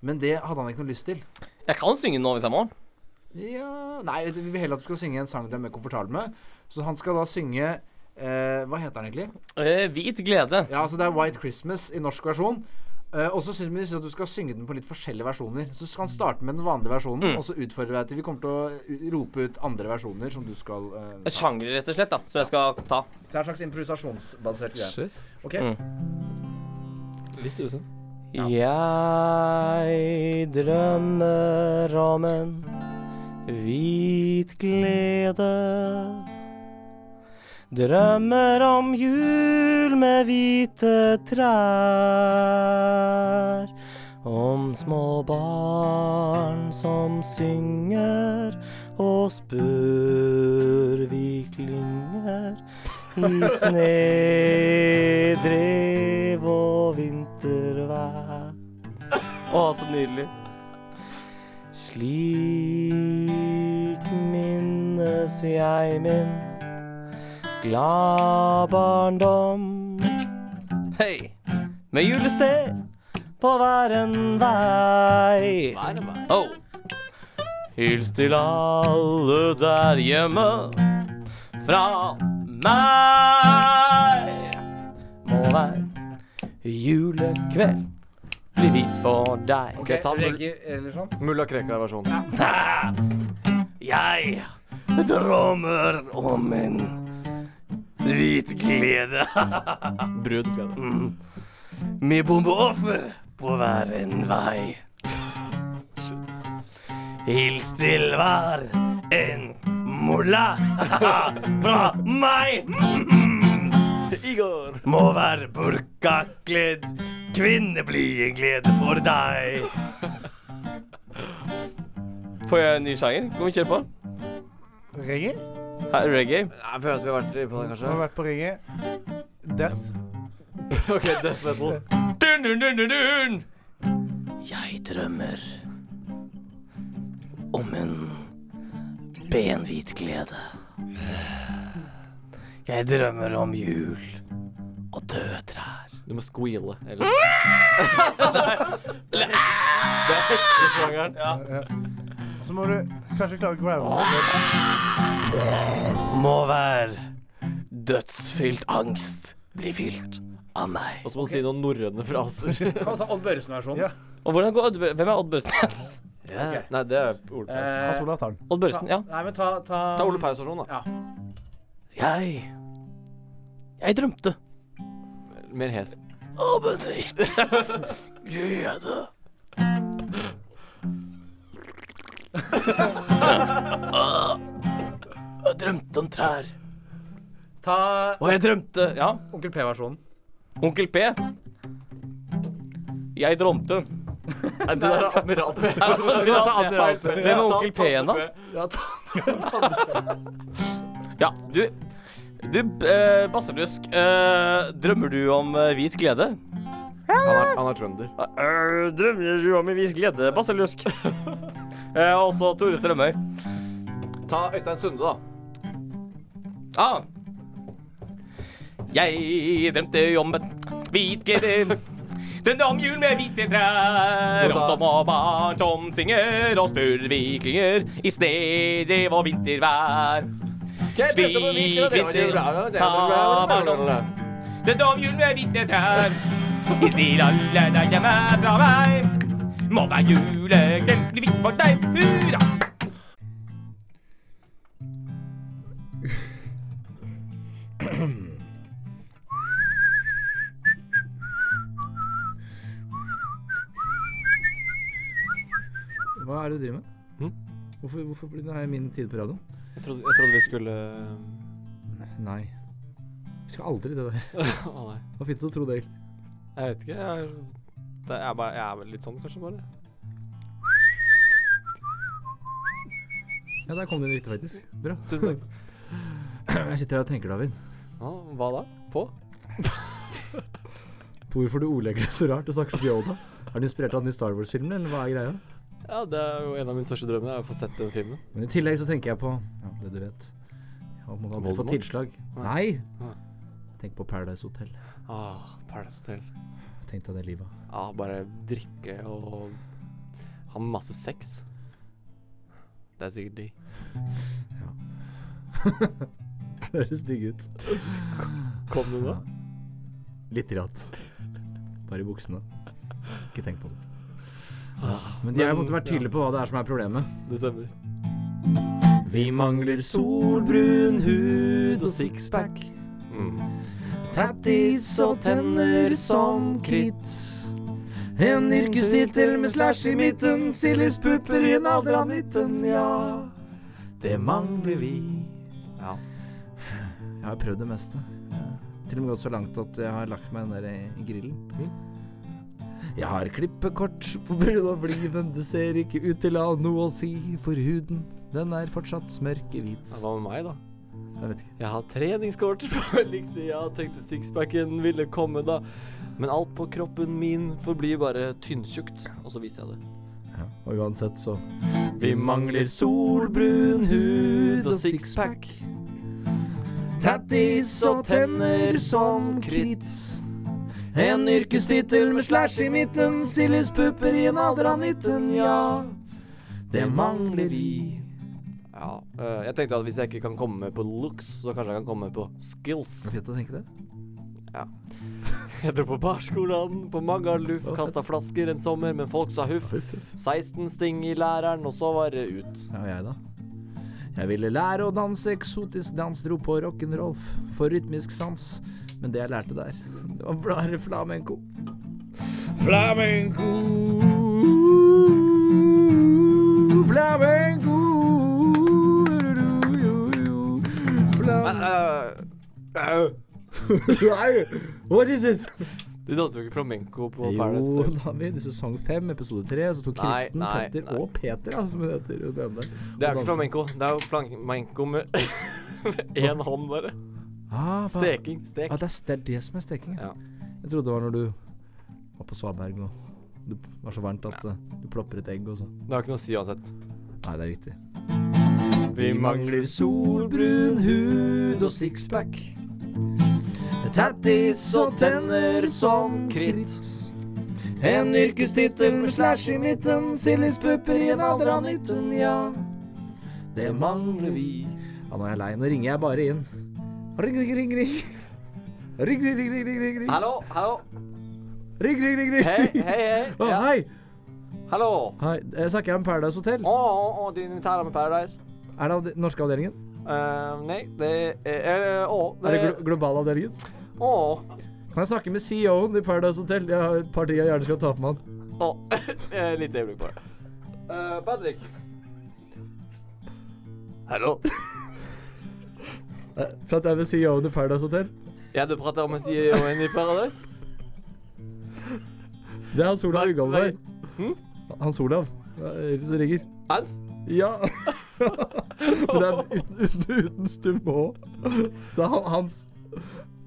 men det hadde han ikke noe lyst til.
Jeg kan synge nå hvis jeg må.
Ja Nei, vi vil heller at du skal synge en sang du er mer komfortabel med. Så han skal da synge eh, Hva heter han egentlig?
Eh, hvit glede.
Ja, altså det er White Christmas i norsk versjon. Eh, og så syns vi at du skal synge den på litt forskjellige versjoner. Så skal han starte med den vanlige versjonen,
Mm.
og så utfordrer jeg til Vi kommer til å u- rope ut andre versjoner som du skal eh, ta.
Sjanger, rett og slett, da, som jeg skal ta.
Så det er en slags improvisasjonsbasert greie. Ok?
Mm.
Litt usen.
Jeg drømmer om en hvit glede Drømmer om jul med hvite trær. Om små barn som synger, og spurvi klynger i snedrev og vintervær. Å, så nydelig. Slik minnes jeg min glad barndom. Hei! Med julested på hver en vei. Oh. Hils til alle der hjemme fra meg. Må hver julekveld bli hvit for deg.
Ok, ta mul
eh, eller sånn.
Mulla Krekar-versjonen.
Jeg drømmer om en hvit glede. Mm.
Brudd. ble det.
Med bombeoffer på hver en vei. Hils til hver en mulla fra meg. Igor. Må hver burkakledd kvinne bli en glede for deg. Får jeg en ny sjanger? Kan vi kjøre på?
Reggae?
Her er reggae.
Jeg føler at vi har vært på det,
Har
kanskje.
vi vært på reggae? Death.
ok, Death Metal.
Dun, dun, dun, dun, dun. Jeg drømmer om en benhvit glede. Jeg drømmer om jul og døde trær.
Du må squeale. Eller Det er heksesjangeren.
Så må du kanskje klare growl.
Må hver dødsfylt angst bli fylt av meg.
Og så må du si noen norrøne fraser.
Kan ta Odd Børresen-versjonen.
Ja.
Og hvordan går Odd Bør- Hvem er Odd Børresen?
Nei, det er Ole Paus.
Hans
Eh,
Olav tar den.
Odd Børresen, ja.
Nei, men ta, ta,
Ta Ole Paus-versjonen, da.
Jeg Jeg drømte
Mer hes.
om en hvit glede. Jeg drømte om trær.
ta
Og jeg drømte Ja,
Onkel P-versjonen.
Onkel P. Jeg drømte.
Nei, det der er Admiral P.
Hvem er Onkel P igjen, da?
Ja, ta
Ja, du Du, eh, Basselusk. Eh, drømmer du om eh, hvit glede?
Han er, han er trønder.
Eh, drømmer du om en hvit glede, Basselusk? eh, også Tore Strømøy.
Ta Øystein Sunde, da.
Ah. Jeg drømte om et hvit glede. Drømte om jul med hvite trær. Om små barn som synger og spurviklinger i snedrev og vintervær. Drømte om jul med hvite trær. I stil alle der hjemme fra meg. Må være juleglem, bli hvitt for deg, hurra!
Hva er det du driver med?
Hm?
Hvorfor, hvorfor blir det her min tid på radioen?
Jeg trodde, jeg trodde vi skulle
Nei. Vi skal aldri det der.
Å nei.
Det var fint å tro det, egentlig.
eh, Jeg vet ikke. Jeg er, det er, bare, jeg er vel litt sånn, kanskje, bare.
Ja, der kom det inn riktig, faktisk. Bra.
Tusen takk.
Jeg sitter her og tenker, David,
Ja, hva da? På?
på hvorfor du ordlegger deg så rart og snakker som Yoda. Er du inspirert av den nye Star Wars-filmen, eller hva er greia?
Ja, det er jo en av mine største drømmer, er å få sett den filmen.
Men i tillegg så tenker jeg på ja, det du vet. Jeg har på en måte aldri fått
Voldemort?
tilslag. Nei!
Nei.
Tenk på Paradise Hotel.
Ah, Paradise Hotel.
Tenk deg det livet.
Ja, bare drikke og ha masse sex. Det er sikkert digg.
Det høres digg ut.
Kom du nå?
Litt ratt. Bare i buksene. Ikke tenk på det. Ja, men jeg måtte være tydelig på hva det er som er problemet.
Det stemmer.
Vi mangler
Solbrun hud og sixpack.
tattis og tenner som kritt. En yrkestittel med slash i midten, Siljes pupper i en alder av 19, ja. Det mangler vi.
Ja.
Ja, Jeg har prøvd det meste. Jeg har Til og med gått så langt at jeg har lagt meg ned i i grillen. Jeg har klippekort på brun og blid, men det ser ikke ut til å ha noe å si, for huden, den er fortsatt mørkehvit.
Ja, Hva med meg, da?
Jeg vet ikke.
Jeg har treningskort på Elixir, jeg tenkte sixpacken ville komme da. Men alt på kroppen min forblir bare tynntjukt, og så viser jeg det.
Ja. Og uansett så
Vi mangler solbrun hud og sixpack. Tattis og tenner som kritt. En yrkestittel med slash i midten, Siljes pupper i en alder av 19, ja. Det mangler vi. Ja, eh, jeg tenkte at hvis jeg ikke kan komme på looks, så kanskje jeg kan komme på skills.
Det er fint å tenke det.
Jeg dro på barskolen, på Magaluf,
Å,
kasta
fett.
flasker en sommer, men folk sa huff.
Huff, huff.
16 sting i læreren, og så var det ut.
Ja, og jeg, da? Jeg ville lære å danse eksotisk dans, dro på rock'n'roll for rytmisk sans. Men det jeg lærte der, det var bare flamenco. Flamenco Flamenco What is it?
Du danser jo ikke flamenco på Paradise
Jo,
Hotel.
David. I sesong fem, episode tre, så tok
Nei,
Kristen,
nei,
Petter
nei.
og Peter, da, som hun heter. Hun ene.
Det er jo
Og
ikke
danser.
flamenco. Det er jo flamenco med med én hånd, bare.
Ah, hva-
Steking. Stek.
Ah, det, er, s- det er det som er steking,
Ja.
Jeg trodde det var når du var på Svaberg og det var så varmt at eh, du plopper et egg og så.
Det har ikke noe å si uansett.
Nei, det er riktig.
Vi mangler
solbrun hud og sixpack. Tattis og tenner som kritt. En yrkestittel med slash i midten, Siljes pupper i en alder av 19, ja. Det mangler vi. Ja, nå er jeg lei. Nå ringer jeg bare inn. Ring, ring, ring, ring. Ring, ring, ring, ring, ring, ring.
Hallo, hallo.
Ring, ring, ring, ring.
Hei, hei, hei.
Å,
Ja.
hei!
Hallo.
Hei, jeg snakker jeg om Paradise Hotel?
Å, å, å, din interne med Paradise.
Er det avde- norske avdelingen?
Eh, nei, det er eh, Å,
Er det glo globale avdelingen?
Å.
Kan jeg snakke med CEO-en i Paradise Hotel? Jeg har et par ting jeg gjerne skal ta på med han.
Å, eh, lite øyeblikk bare. Eh, Patrick. Hallo.
Eh, Prater jeg med CEO-en i Paradise Hotel?
Ja, du prater om en CEO i Paradise?
Det er Hans Olav
Nei,
Uggald
nei. Hm?
der. Hans Olav eh, som ringer.
Hans?
Ja. Men det er uten, uten, uten stum H. Det er han- hans.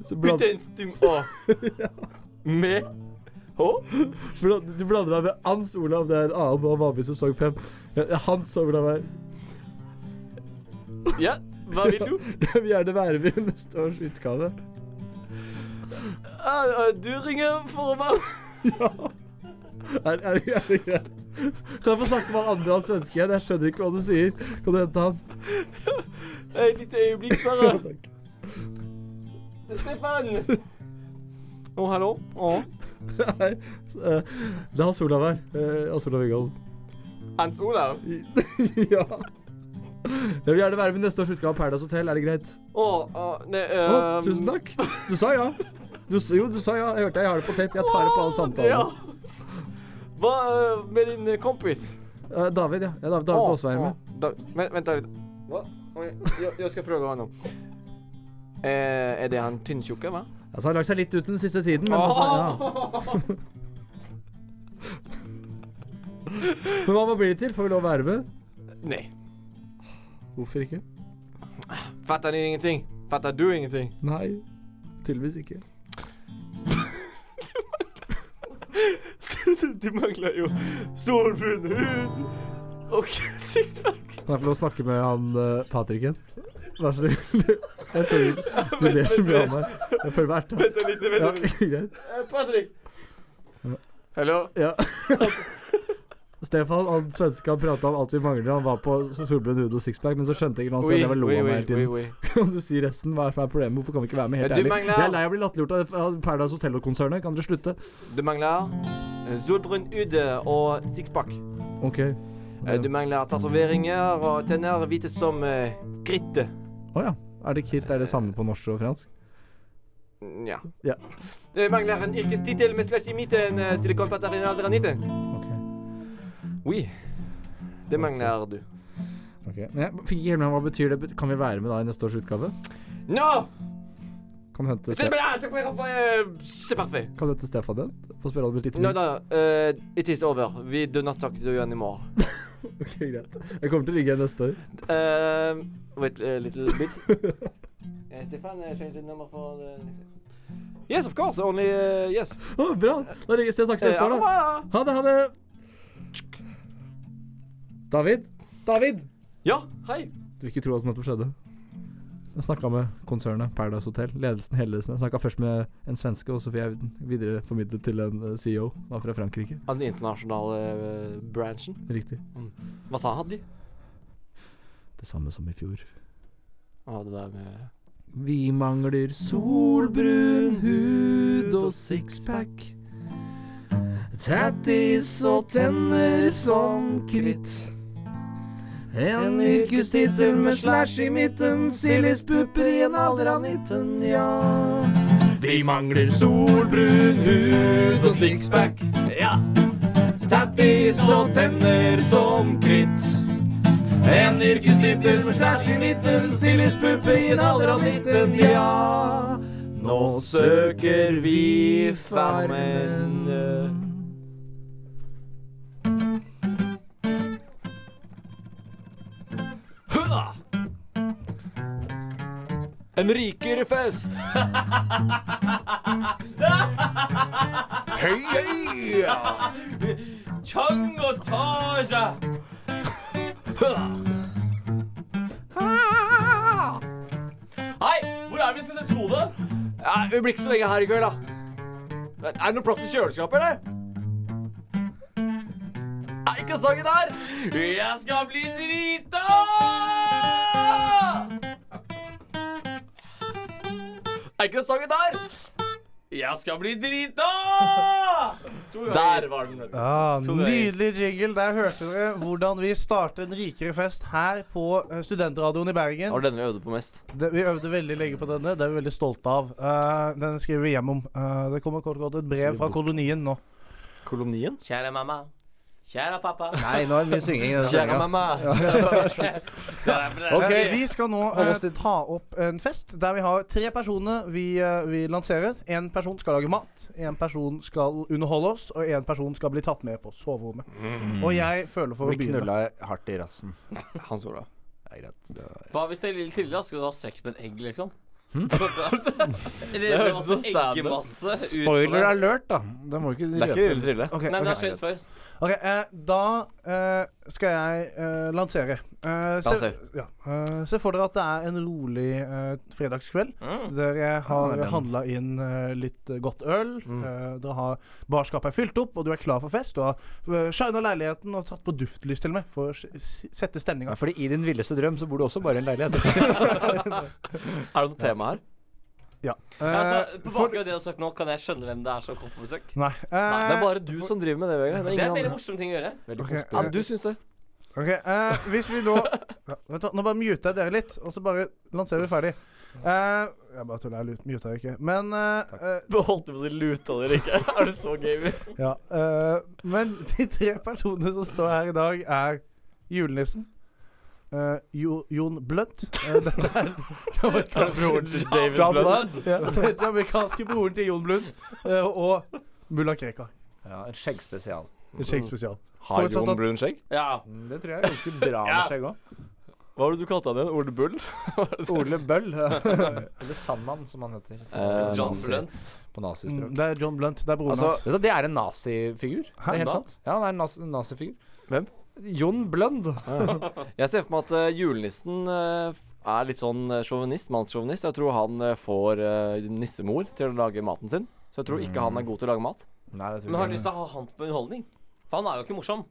Så bland,
Putt en stum Å. Med H?
bland, du blander meg med Hans Olav. Det er en annen han var med i sesong fem. Eh, Hans Olav er
Ja, hva vil du?
Jeg vil gjerne være med i neste års utgave.
Ah, ah, du ringer for å være
Er, er, det- er det greit? Kan jeg få snakke med han andre, han svenske igjen? Jeg skjønner ikke hva du sier. Kan du hente han?
Et lite øyeblikk,
Ja,
bare.
takk.
Stefan! Å, hallo? Å.
Nei, så, eh, det er Hans Olav her. Eh, Hans Olav Engold.
Hans Olav?
ja. Jeg vil gjerne være med i neste års utgave av Paradise Hotel. Er det greit?
Å, å, nei ehm,
Å, tusen takk. Du sa ja. Du, s- jo, du sa ja. Jeg hørte deg. Jeg har det på tape. Jeg tar det på alle samtalene.
Ja. Hva eh, med din eh, kompis?
Eh, David, ja. ja David, David
Å,
Aase er med.
å, Da, vent, vent litt. Hva? Oj, Jag, jag ska fråga honom. Eh, är det han tynntjocka va?
Altså, han har lagt seg litt ut den siste tiden, men altså, ja. Men hva hva blir det til? Får vi lov å være med?
Nej.
Hvorfor ikke?
Fattar ni ingenting? Fattar du ingenting?
Nei. Tydeligvis ikke.
du manglar ju solbrun hud och sixpack.
Kan jeg få lov å snakke med han uh, Patrikken? Vær så snill. Jeg skjønner ikke. Du ler så mye av meg. Jeg føler meg erta.
Vänta lite,
Ja,
vänta lite.
greit.
Eh, Patrik!
Ja.
Hallå?
Ja. Stefan, han svenske, han prata om alt vi mangler. Han var på solbrun hud og sixpack, men så skjønte ikke han selv. Jeg bare lo av meg hele tiden.
oui.
Kan du si resten? Hva er som er problemet? Hvorfor kan vi ikke være med helt
Ja, du
ærlig?
mangler-
Jeg er lei av å bli latterliggjort av- av Paradise Hotel-konsernet. Kan dere slutte?
Du manglar eh, solbrun hud och sixpack.
OK.
Eh, Du manglar tatoveringer och tenner vita som eh, kritte.
Å ja. Er det kit? Er det samme på norsk og fransk?
Ja.
Ja.
Det mangler en yrkestittel med slash i midten. eh, Silikonplater i alderen 19.
OK.
Oui. Det mangler du.
ok. Men jeg fikk ikke helt med meg hva betyr det. Kan vi være med da i neste års utgave?
No!
Kan hente,
C'est
Ste-
euh,
parfait. C'est parfait.
kan hente Stefan din. Få spørre han om et lite
No,
minutt.
no, uh, it is over. We do not talk to you anymore.
Ok, greit. Jeg kommer til å ligge her neste år.
Uh, wait a little bit. Eh, Stefan, uh, change the number for the next... Yes, of course. Only uh, yes.
Å, bra! Da ringer jeg snakkes neste år, da.
Eh,
Ha det, ha det! David? David!
Ja, hei.
Du vil ikke tro hva som nettopp skjedde. Jeg snakka med konsernet Paradise Hotel, ledelsen, hele ledelsen. Jeg snakka først med en svenske, og så fikk jeg videreformidlet til en eh, CEO. Han var fra Frankrike.
Av den internasjonale eh, branchen.
Riktig.
Hva sa han, de?
Det samme som i fjor.
Ah, det der med...
Vi mangler solbrun hud og sixpack. Tattis og tenner som kritt. En yrkestittel med slash i midten, sildespupper i en alder av 19, ja.
Vi mangler solbrun hud og sixpack. Ja. Tattis og tenner som kritt. En yrkestittel med stæsj i midten, Siljus puppe i en alder av 19, ja. Nå søker vi farmen.
Hurra! En rikere fest!
Hei, hei!
Chang og Taja. Hei, hvor er det vi skal sette skoene?
Ja, vi blir ikke så lenge her i kveld, da. Er det noe plass i kjøleskapet, eller? Er ikke sangen der?
Jeg skal bli drita!
Er ikke sangen der?
Jeg skal bli drita!
Der var den. vet du.
Ja,
Tror jeg.
Nydelig jingle. Der hørte dere hvordan vi startet en rikere fest her på eh, studentradioen i
Det
Bergen.
var denne vi øvde på mest.
Det, vi øvde veldig lenge på denne. Det er vi veldig stolte av. Eh, den skriver vi hjem om. Eh, det kommer kort og godt et brev fra kolonien nå.
Kolonien?
Kjære mamma. Kjære pappa.
Nei, nå er det mye synging i den
Kjære
sendinga.
mamma.
Eh, Vi skal nå eh, ta opp en fest der vi har tre personer vi, eh, vi lanserer. Én person skal lage mat, én person skal underholde oss, og én person skal bli tatt med på soverommet. Og jeg føler for å
Blir
begynne.
knulla hardt i rassen.
Hans Olav.
Det er greit. Det var-
Hva hvis det er lille Tilde? da? Skal du ha sex med en egg, liksom?
Hm?
Det høres så sad ut.
Spoiler alert, da. Det må ikke
Det er ikke Lille Trille.
Ok,
Nei, men det har
ok.
skjedd før.
Ok, eh, da eh, skal jeg eh, lansere. Eh, se,
Lanser.
ja, eh, se for dere at det er en rolig eh, fredagskveld.
Mm.
Dere har handla inn eh, litt eh, godt øl.
Mm.
eh, dere har Barskapet er fylt opp, og du er klar for fest. Du har eh, shina leiligheten og tatt på duftlys til og med for å s- s- sette
Ja,
stemninga.
fordi i din villeste drøm så bor du også bare i en leilighet.
Er det noe tema her?
Eh,
Ja, altså, på bakgrunn av det du har sagt nå, kan jeg skjønne hvem det er som kommer på besøk?
Nei. eh,
Det er bare du som driver med det, Vegard. Det
Det er en
er
veldig
ingen andre.
morsom ting å gjøre.
Veldig
Ok,
konspirert.
Ja, du syns det.
Ok, eh, hvis vi nå ja, Vet du hva, Nå bare muter jeg dere litt, og så bare lanserer vi ferdig. Eh, jeg bare tuller. Jeg lu- muter ikke. Men eh, eh,
Du holdt på å si luta dere ikke. Er du så gamer?
Ja, eh, men de tre personene som står her i dag, er julenissen. eh, jo, Jon Blunt. eh, dette er
Broren til David
John
Blunt.
Blunt. Ja, det er den amerikanske broren til Jon Blunt. eh, og mulla Krekar.
Ja, en skjeggspesial.
En skjeggspesial.
Har
Forutsatt
Jon
at-
Brun skjegg?
Ja.
Mm, Det tror jeg er ganske bra med skjegg òg.
Hva var det du kalte han igjen? Ole Bull?
Ole Bøll. Eller Sandmann, som han heter.
Eh,
John
nazi-
Blunt.
På nazispråk.
Mm, Det er John Blunt. Det er broren
Altså,
hans.
vet du, det er en nazifigur. Det
Hæ,
er helt
da?
sant. Ja, han er en nazi- en nazifigur.
Hvem?
Jon Blund.
Jeg ser for meg at eh, julenissen eh, er litt sånn eh, sjåvinist, mannssjåvinist. Jeg tror han eh, får eh, nissemor til å lage maten sin. Så jeg tror ikke han er god til å lage mat.
Nei, det
Men har du lyst til å ha han på underholdning? For han er jo ikke morsom.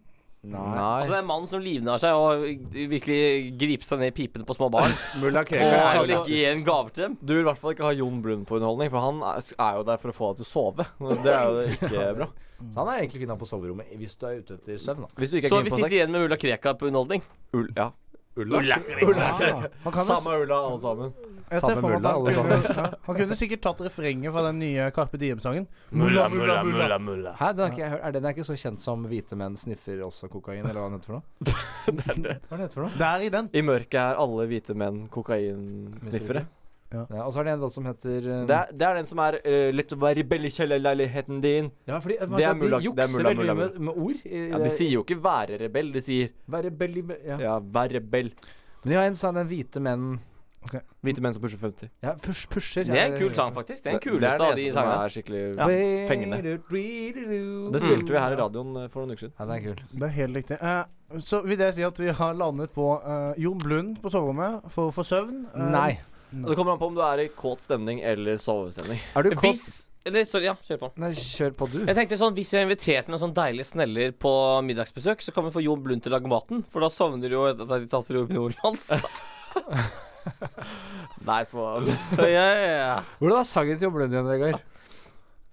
Nei.
Altså Det er en mann som livnærer seg og virkelig griper seg ned i pipene på små barn.
Mulla
og
Krekar er jo sånn.
legger igjen gaver til dem.
Du vil i hvert fall ikke ha Jon Brun på underholdning, for han er, er jo der for å få deg til å sove. Det er jo ikke bra.
Så han er egentlig fin på soverommet hvis du er ute etter søvn. da.
Hvis du ikke
Så
er
vi
keen på
sitter
sex.
igjen med Ulla Krekar på underholdning.
Ull, ja.
Ah, han, kan, jo-
Samme ulla, alle sammen.
jeg ser
Samme
for meg
mulla,
at han,
alle
kunne, ja, han kunne sikkert tatt refrenget fra den nye Carpe Diem-sangen. Mulla, mulla, mulla.
Hæ, den er, ikke, jeg hørt- er den er ikke så kjent som hvite menn sniffer også kokain, eller hva den heter for noe? Hva er det heter for noe?
Det er i den.
I mørket er alle hvite menn kokain-sniffere
Ja, og så er det en låt som heter eh,
Det er, det er den som er eh, litt å være rebell i kjellerleiligheten din.
ja, fordi, eh,
det er mulla-
De
det er
jukser veldig
mulla- mulla-
mye med, med ord. i- eh,
Ja, De sier jo ikke 'være rebell', de sier
Være belly, ja.
'ja, vær rebell'.
Men ja, en sang den hvite menn
Hvite menn som pusher 50.
Ja, push, pusher.
Det er en kul sang, faktisk. Det er den
det er
kuleste
den
av de
eneste som
sangene.
er skikkelig
Fengende.
fengende. Det spilte vi her i radioen eh, for noen uker siden.
Ja, den er kul.
Det er helt riktig. Eh, så vil det si at vi har landet på eh, Jon Blund på soverommet for å få søvn? Eh,
Nei.
Og Det kommer an på om du er i kåt stemning eller sovestemning.
Er du kåt?
Hvis Eller, sorry, ja, kjør på.
Nei, kjør på, du.
Jeg tenkte sånn, Hvis jeg inviterte noen sånn deilige sneller på middagsbesøk, så kan vi få Jon Blund til å lage maten. For da sovner jo etter at de tatt Robinon hans.
Nei, små
Ja, ja, ja.
Hvordan er sangen til Jon Blund igjen, Vegard?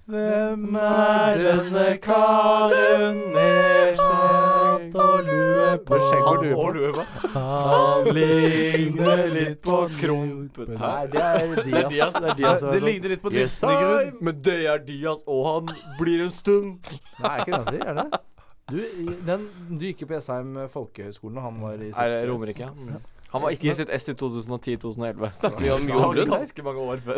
Hvem er denne karen med skjegg og lue på?
Skjegg og lue på.
lue på. Han ligner litt på Krompen.
Nei, det er altså.
Det er Diaz. Det, er Diaz som er
Det
sånn,
ligner litt på
Yes,
Disney grunn.
I, men det er Diaz, og han blir en stund.
Nei, er ikke det han sier? Er det? Du, i- den, du gikk jo på Jessheim folkehøgskole og han var i
Er det Romerike? ja? Han var ikke i sitt S i 2010-2011. Snakker
vi om Jon Blund?
Ganske mange år før.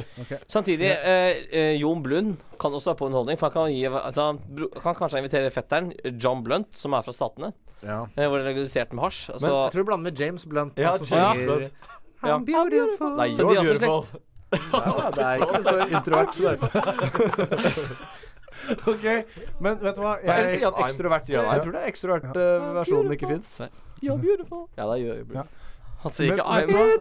Samtidig, eh, eh, Jon Blund kan også være på underholdning. For han kan, gi, altså, han bro- kan kanskje invitere fetteren eh, John Blunt, som er fra Statene.
Ja.
Eh, hvor det er legalisert med hasj. Altså,
Men jeg tror du blander med James Blunt.
Ja,
han som
James
synger-
Blunt.
I'm beautiful.
Nei,
Så
you're
de er også
beautiful.
Ja, det er ikke så introvert. så det er-
Ok, men vet du hva?
Eller
Jeg,
sier han ekstrovert? Ja,
Jeg tror det er ekstrovert eh, versjonen ikke fins.
You're beautiful. Ja, det er you're beautiful.
Han sier ikke
Men-
I'm
men-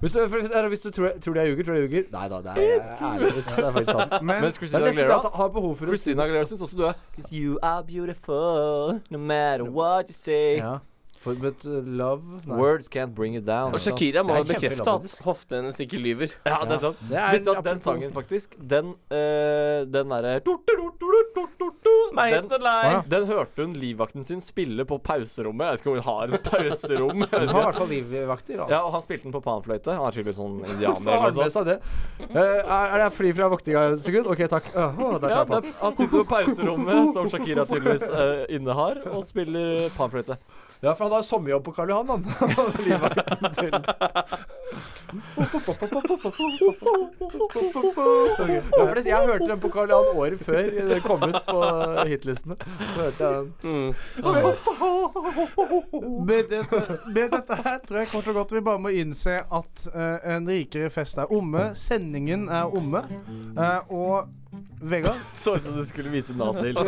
Hvis du, for- eller hvis du tror, tror de jeg ljuger, tror de jeg ljuger. Nei da, det er jeg er ærlig. Det er faktisk sant.
men
Mens
Det er
Christina
nesten
Aguilera
at jeg har behov for å si
Christina Aguilera syns også du er Cause you are beautiful no matter what you say.
Ja. For, but uh, love Nei.
Words can't bring it down.
Og Shakira må
Det er
bekrefte at
kjempelovatisk.
hoftene hennes ikke lyver.
Ja, det er sant.
Det er
Visste du at den sangen, faktisk, den uh, Den derre den, den hørte hun livvakten sin spille på pauserommet. Jeg vet ikke om hun har et pauserom. jeg
Den har
vet
i
ikke.
hvert fall livvakter. da.
Ja, og han spilte den på panfløyte. Han er tydelig sånn indianer
Hva har
eller
du
noe
med seg
sånt.
det? Eh, er, er jeg fri fra voktinga et sekund? OK, takk. Åh, der tar
Ja,
jeg
det
på.
er, han sitter på pauserommet, som Shakira tydeligvis eh, innehar, og spiller panfløyte.
Ja, for han har sommerjobb på Karl Johan, han. Livvakten til Ok. ja, for det, Jeg hørte den på Karl Johan året før det kom ut på hitlistene. Så hørte jeg den.
Mm.
med dette, med dette her tror jeg kort og godt vi bare må innse at eh, en rikere fest er omme. Sendingen er omme. Eh, og Vegard,
Så ut som du skulle vise
ja,
nazihilsen.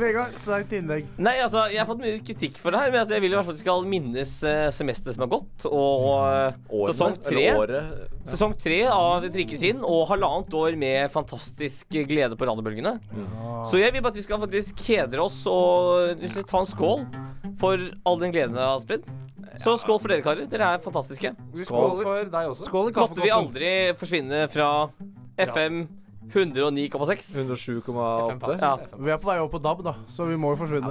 Vegard, til ditt innlegg.
Nei, altså, jeg har fått mye kritikk for det her, men altså, jeg vil i hvert fall at vi skal minnes eh, semesteret som har gått, og eh, sesong tre.
Eller året.
Sesong tre av Drikkesinn og halvannet år med fantastisk glede på radiobølgene. Så jeg vil bare at vi skal faktisk hedre oss og rett og slett ta en skål for all den gleden dere har spredd. Så skål for dere, karer. Dere er fantastiske.
Skål for deg også.
Skål i
Måtte vi
kaffekoppen.
aldri forsvinne fra FM 109,6.
107,8.
Ja.
Vi er på vei opp på DAB, da, så vi må jo forsvinne.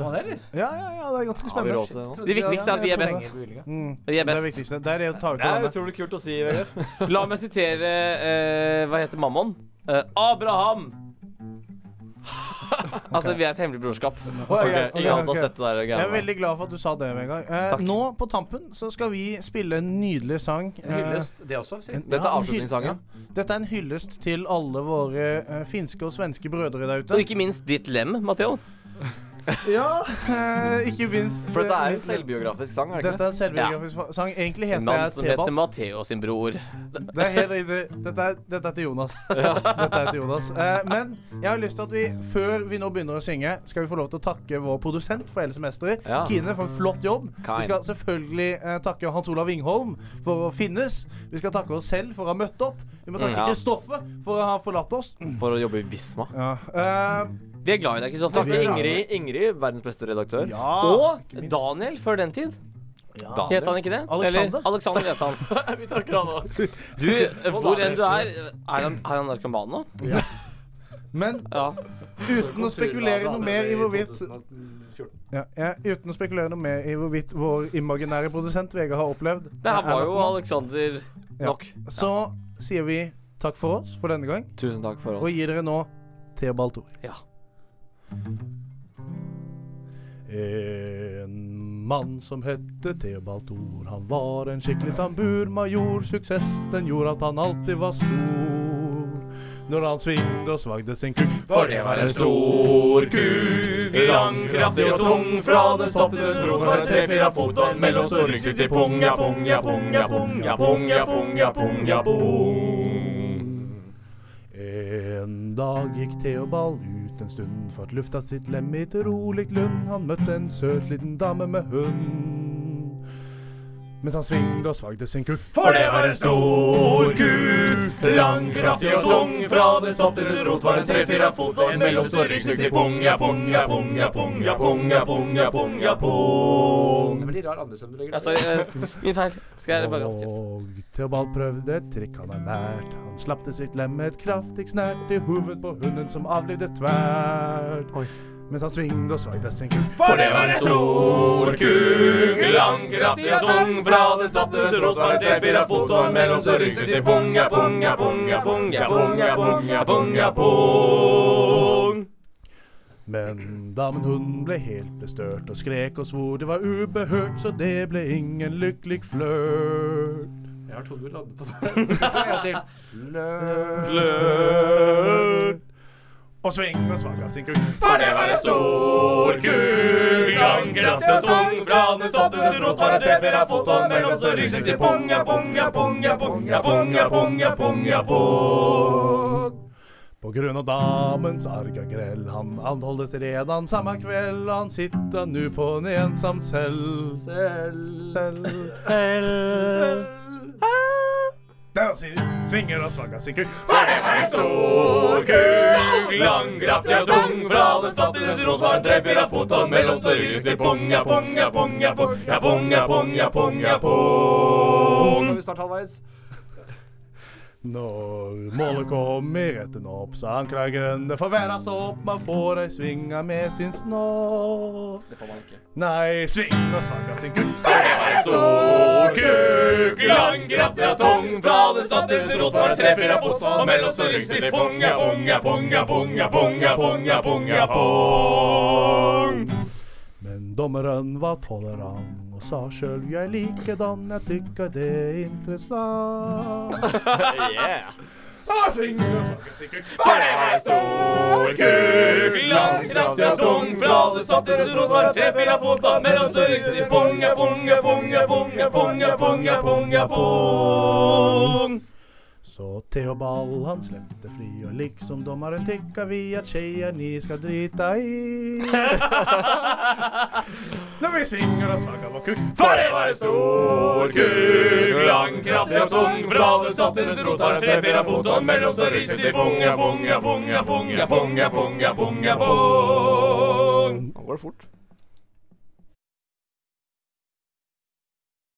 Ja, ja, ja, det er ganske
Har vi
spennende.
råd til det nå?
Det viktigste er at vi er best.
Mm.
Vi er
Det er
best.
viktigste. Det er det å ta ut av
Det er
landet.
utrolig kult å si, Vegard.
La meg sitere eh, Hva heter mammon? Eh, Abraham! altså, vi er et hemmelig brorskap.
Ok,
greit,
Ingen
ok,
som
ok.
har sett det der
Jeg er
greiene der.
veldig glad for at du sa det, Vegard. Eh, nå på tampen så skal vi spille en nydelig sang. eh,
det også.
en- ja,
Dette er
en hyll-
avslutningssangen.
ja. Dette er en hyllest til alle våre eh, finske og svenske brødre der
Og
ute.
ikke minst ditt lem, Matheo.
Ja, eh, ikke minst.
For dette er en
eh,
selvbiografisk sang, er det ikke det?
Dette er en selvbiografisk fa- sang. Egentlig
En
heter
mann
jeg
som heter
T-Ball.
Matheo sin bror.
Det er helt riktig. Dette er, dette er til Jonas. Dette er til Jonas. Eh, men jeg har lyst til at vi, før vi nå begynner å synge, skal vi få lov til å takke vår produsent for hele semesteret.
Ja.
Kine for en flott jobb. Vi
Kain.
skal selvfølgelig eh, takke Hans Olav Vingholm for å finnes. Vi skal takke oss selv for å ha møtt opp. Vi må
Mm,
takke
ja.
Kristoffe for å ha forlatt oss.
For å jobbe i Visma.
Ja. eh,
Vi er glad i deg, Kristoffer.
Takke Ingrid, Ingrid, verdens beste redaktør.
ja.
Og Daniel før den tid. Het han ikke det?
Alexander.
Eller Alexander het han. Du, eh, hvor enn du er eh, Er han, er han narkoman nå?
Men
Ja.
uten å spekulere noe mer i hvorvidt ja, eh, Uten å spekulere noe mer i hvorvidt vår imaginære produsent Vegard har opplevd
Det her
er
var jo
narkoman.
Alexander nok.
Så sier vi takk for oss for denne gang,
Tusen takk for oss.
og gir dere nå T-ball 2.
Ja.
En mann som hette Theobald Thor. Han var en skikkelig tamburmajor. Suksess, den gjorde at han alltid var stor. Når han svingde og svagde sin kuk,
For det var en stor kuk, lang, kraftig og tung. Fra den stopp til den rot var det tre-fire fot og en mellomstor ryggsekk til pung, ja, pung, ja, pung, ja, pung, ja, pung, ja, pung, ja, pung, ja, pung.
En dag gikk Theobald ut en stund for at lufta sitt lem i et rolig lund. Han møtte en søt liten dame med hund. Mens han svingde og svagde sin kuk.
For det var en stor kuk, lang, kraftig og tung. Fra den stopp til den rot var det tre-fire fot og en mellomstor ryggsekk til pung, ja, pung, ja, pung, ja, pung, ja, pung, ja, pung, ja, pung, ja, pung.
Det blir rar andrestemme du legger
Altså, eh, min feil. Skal jeg bare oppkjefte?
Og Theobald prøvde et trikk han er lært. Han slapp til sitt lem med et kraftig snert i hodet på hunden som avlivde tvert. Mens han svingde og svagde sin kuk.
For det var en stor kuk, lang, kraftig og tung. Fra det stoppte ved rot var det tre-fire fot, og mellom så rynkset det punga, punga, punga, punga, punga, punga, punga, pung.
Men damen hun ble helt bestørt og skrek og svor det var ubehørt, så det ble ingen lykkelig flørt.
Jeg har trodd du landet på det. En gang til.
Og svingte og svaga sin kuk.
For det var en stor kuk, lang, kraftig og tung. Fra det stoppte ved rot var det tre-fire fot, og mellom så rynkset det punga, punga, punga, punga, punga, punga, punga, pung.
På grunn av damens arg og grell, han anholdes redan samme kveld, han sitter nu på en ensam cell. Selv. Selv. Der han sier, svinger og svaga sin kuk.
For det var en stor kuk, lang, kraftig og tung. Fra det satt i rot var det tre-fire fot, og mellom så ryket det punga, punga, punga, punga, punga, punga, punga, pung.
Nå er vi snart halvveis.
Når målet kom i retten opp, så anklagene forverres opp. Man får ei svinga med sin snopp. Det får man ikke. Nei, sving og svanga sin kuk.
For det var en stor kuk, lang, kraftig og tung. Fra det satt i rot var det tre-fire fot, og mellom så ryket det punga, punga, punga, punga, punga, punga, punga, pung.
Men dommeren var tolerant og sa sjøl jeg likedan, jeg tykka det er interessant. Ah, sving og svanga sin kuk.
For det var en stor kuk, lang, kraftig og tung. Fra det satte til rot var det tre-fire fot, og mellom så rykket det punga, punga, punga, punga, punga, punga, punga, pung.
Så Theobald han slemte fri, og liksom dommeren tykka vi at skeia ni skal drita i. Når vi svinger og svaga vår kuk.
For det var en stor kuk, lang, kraftig og tung. Fra det satte til rot var det tre-fire fot, og mellom så rykket det punga, punga, punga, punga, punga, punga, punga, pung.
Nå går det fort.